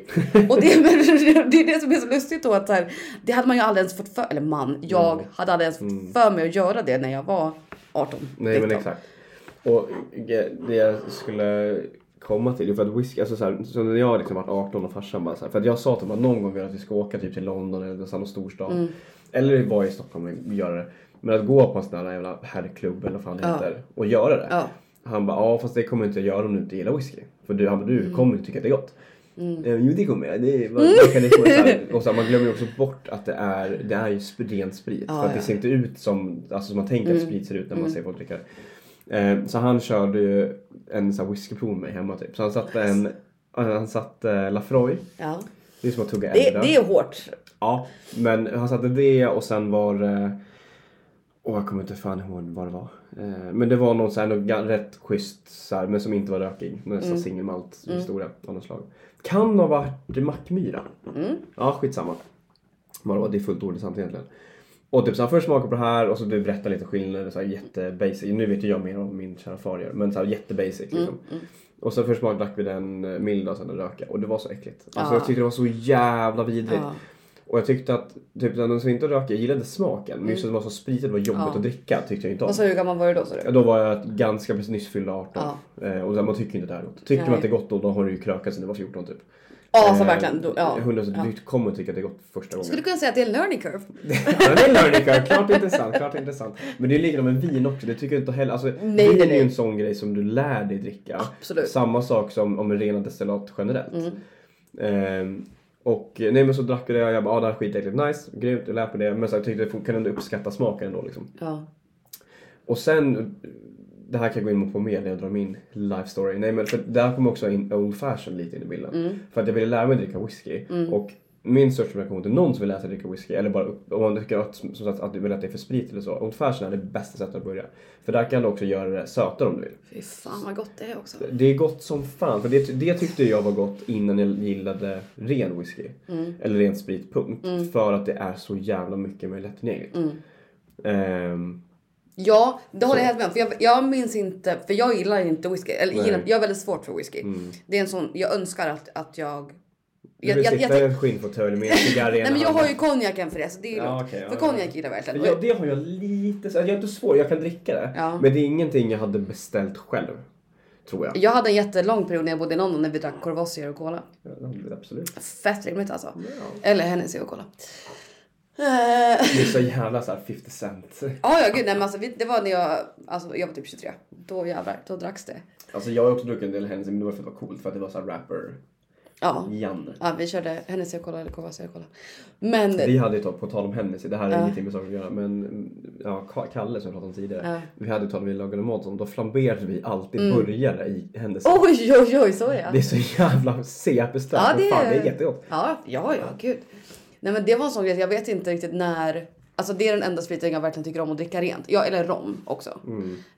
S2: Och det, är- [LAUGHS] det är det som är så lustigt då att så här, det hade man ju aldrig ens fått för, eller man,
S1: Mm.
S2: jag hade aldrig ens fått för mig att göra det när jag var 18.
S1: Nej men
S2: 19.
S1: exakt. Och ge- det jag skulle komma till, det är för att whisky, alltså så, här, så när jag liksom varit 18 och farsan bara så här, för att jag sa till honom att någon gång vill jag att vi ska åka typ till London eller så här någon storstad.
S2: Mm.
S1: Eller vara i Stockholm och göra det. Men att gå på en sån här jävla herrklubb eller vad fan det
S2: Ja.
S1: heter och göra det.
S2: Ja.
S1: Han bara, ja fast det kommer inte jag göra om du inte gillar whisky. För du, han bara,
S2: Mm.
S1: du kommer inte tycka att det är gott. Eh, Jo det kommer jag. Det är,
S2: [LAUGHS]
S1: vad, vad kan det få? Så här, och så här, man glömmer ju också bort att det är, det är ju sp- ren sprit.
S2: Ja,
S1: för att
S2: ja. Mm.
S1: det ser inte ut som, alltså som man tänker att sprit ser ut när man ser folk dricka det. eh, Så han körde ju en sån här whiskypool med mig hemma typ. Så han satte en, eh, han satte Lafroy.
S2: Ja.
S1: Det är som att tugga
S2: Det,
S1: Edda.
S2: det är hårt.
S1: Ja, men han satte det och sen var det... Åh, jag kommer inte fan ihåg vad det var. Eh, Men det var någon så här, någon ga- rätt schysst så här, men som inte var rökig. Nästan mm. singelmalt historia av något slag. Kan ha varit Mackmyra.
S2: Mm.
S1: Ja, skitsamma. Vadå, det är fullt ordet sant egentligen. Och typ så han först smakar på det här och så du berättar lite skillnader så här jättebasic. Nu vet ju jag mer om min kära far gör, men så här jättebasic
S2: Mm,
S1: liksom. Och så först smakade drack vi den eh, mild och sen den röka och det var så äckligt. Alltså
S2: Ja.
S1: jag tyckte det var så jävla vidrigt.
S2: Ja.
S1: Och jag tyckte att typ den som inte röker, jag gillade smaken. Men just att det var så spritigt, det var jobbigt
S2: Mm. Ja.
S1: att dricka tyckte jag inte om.
S2: Vad sa du, hur gammal var du då sa
S1: Ja,
S2: du?
S1: Då var jag ganska precis nyss fyllda 18. Eh, och så här, man tycker ju inte det här är gott. Tycker
S2: Nej.
S1: man att det är gott då, då har du ju krökat sedan du var 14 typ.
S2: Ja, så
S1: Eh,
S2: verkligen. Då- Ja.
S1: 100
S2: Ja.
S1: Du kommer tycka att det är gott första gången.
S2: Skulle du kunna säga att det är en learning curve?
S1: [LAUGHS] Ja, det är Lörnica, klart intressant, klart intressant. Men det är likadant med vin också, det tycker jag inte heller. Alltså,
S2: Nej,
S1: vin
S2: nej,
S1: är
S2: nej.
S1: ju en sån grej som du lär dig dricka.
S2: Absolut. Mm.
S1: Samma sak som om rena destillat generellt. Ehm, och nej men så drack jag det och jag bara ah, det här är skitäckligt, nice, grymt, jag lär mig det. Men så här, tyckte jag fort- kunde ändå uppskatta smaken ändå liksom.
S2: Ja.
S1: Och sen, det här kan jag gå in på mer när jag drar min life story. Nej men för där kom också in Old Fashion lite in i bilden.
S2: Mm.
S1: För att jag ville lära mig dricka whisky. Och min största rekommendation till någon som vill lära sig dricka whisky, eller bara upp- om man tycker att, som sagt, att du vill att det är för sprit eller så. Old Fashion är det bästa sättet att börja. För där kan du också göra det sötare om du vill.
S2: Fy fan vad gott det är också.
S1: Det är gott som fan. För det, det tyckte jag var gott innan jag gillade ren whisky.
S2: Mm.
S1: Eller ren sprit, punkt. För att det är så jävla mycket mer lättillgängligt. Ehm,
S2: Ja, det håller jag helt med om. För jag, jag minns inte, för jag gillar inte whisky. Eller
S1: Nej. Mm.
S2: gillar, jag är väldigt svårt för whisky. Det är en sån, jag önskar att, att jag...
S1: du
S2: Jag,
S1: vill
S2: jag, jag,
S1: sitta i en skinnfåtölj
S2: [LAUGHS]
S1: med en cigarr i
S2: nej
S1: ena
S2: men jag
S1: handen.
S2: har ju konjaken för det så det är ju
S1: Ja,
S2: lugnt.
S1: okej, ja,
S2: För
S1: ja.
S2: konjak gillar jag verkligen.
S1: Ja, det har jag lite. så- Jag är inte svår, jag kan dricka det.
S2: Ja.
S1: Men det är ingenting jag hade beställt själv. Tror jag.
S2: Jag hade en jättelång period när jag bodde i London när vi drack Corvossier och Cola.
S1: Ja, Absolut.
S2: Fett rimligt alltså.
S1: Ja.
S2: Eller Hennessy och Cola. Eh, [LAUGHS]
S1: Det är så jävla såhär 50 cent.
S2: Ja, ja gud nej men alltså vi, det var när jag, alltså jag var typ 23. Då jävlar, då dracks det.
S1: Alltså jag har också druckit en del Hennessy men det var för att det var coolt för att det var såhär rapper
S2: Ja.
S1: Janne.
S2: Ja vi körde Hennessy och Cola eller Corvossier och Cola. Men
S1: Vi hade ju tagit, på tal om Hennessy, det här är
S2: Ja.
S1: ingenting med saker att göra men mm, ja, Ka- Kalle som jag pratade om tidigare.
S2: Ja.
S1: Vi hade ju talat om vi lagade mat om, då flamberade vi alltid burgare i Hennessy.
S2: Oj, oj, oj, så Mm. Oh, ja.
S1: Det är så jävla CP-starkt.
S2: Ja, det
S1: men fan, det är
S2: är-
S1: jättegott.
S2: Ja, ja, ja, gud. Nej men det var en sån grej, jag vet inte riktigt när Alltså det är den enda spriten jag verkligen tycker om att dricka rent. Ja, eller rom också.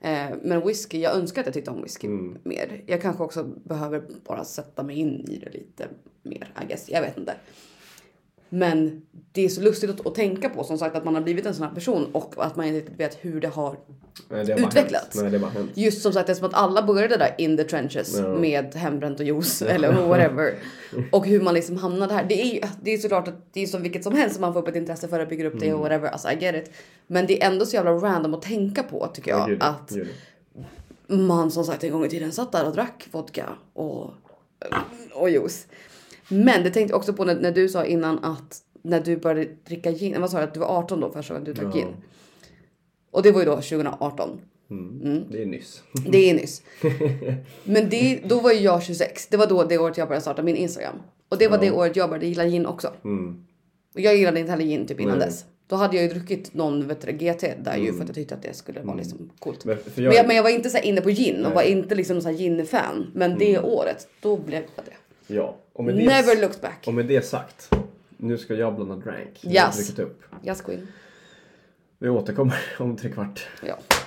S2: Eh, men whisky, jag önskar att jag tyckte om whisky mer. Jag kanske också behöver bara sätta mig in i det lite mer, I guess. Jag vet inte. Men det är så lustigt att, att tänka på som sagt att man har blivit en sån här person och att man inte riktigt vet hur det har
S1: Nej, det har bara
S2: Utvecklats.
S1: Hänt. Nej, det har bara hänt.
S2: Just som sagt, det är som att alla började där in the trenches
S1: Ja.
S2: med hembränt och juice eller
S1: [LAUGHS]
S2: whatever. Och hur man liksom hamnade här. Det är, ju- det är såklart att det är som vilket som helst som man får upp ett intresse för och bygger upp det
S1: Mm.
S2: och whatever. Alltså I get it. Men det är ändå så jävla random att tänka på tycker jag.
S1: Gud,
S2: att
S1: gud.
S2: man som sagt en gång i tiden satt där och drack vodka och, och juice. Men det tänkte jag också på när, när du sa innan att när du började dricka gin, vad sa du att du var 18 då första gången du drack
S1: Ja.
S2: gin? Och det var ju då 2018.
S1: Mm. Det är nyss.
S2: Det är nyss. Men det, då var ju jag 26. Det var då det året jag började starta min Instagram. Och det var det året jag började gilla gin också. Och jag gillade inte heller gin typ innan
S1: Mm. Nej.
S2: dess. Då hade jag ju druckit någon vet du, GT där ju för att jag tyckte att det skulle vara liksom coolt.
S1: Men för Mm. jag-
S2: Men, jag, men jag var inte så här inne på gin och var inte liksom någon så här gin-fan. Men det året, då blev jag det.
S1: Ja. Och med,
S2: Never
S1: Mm. det,
S2: looked back.
S1: och med det sagt. Nu ska jag blanda drank. Nu har
S2: Yes.
S1: jag druckit upp.
S2: Yes queen.
S1: Vi återkommer [LAUGHS] om tre kvart.
S2: Ja.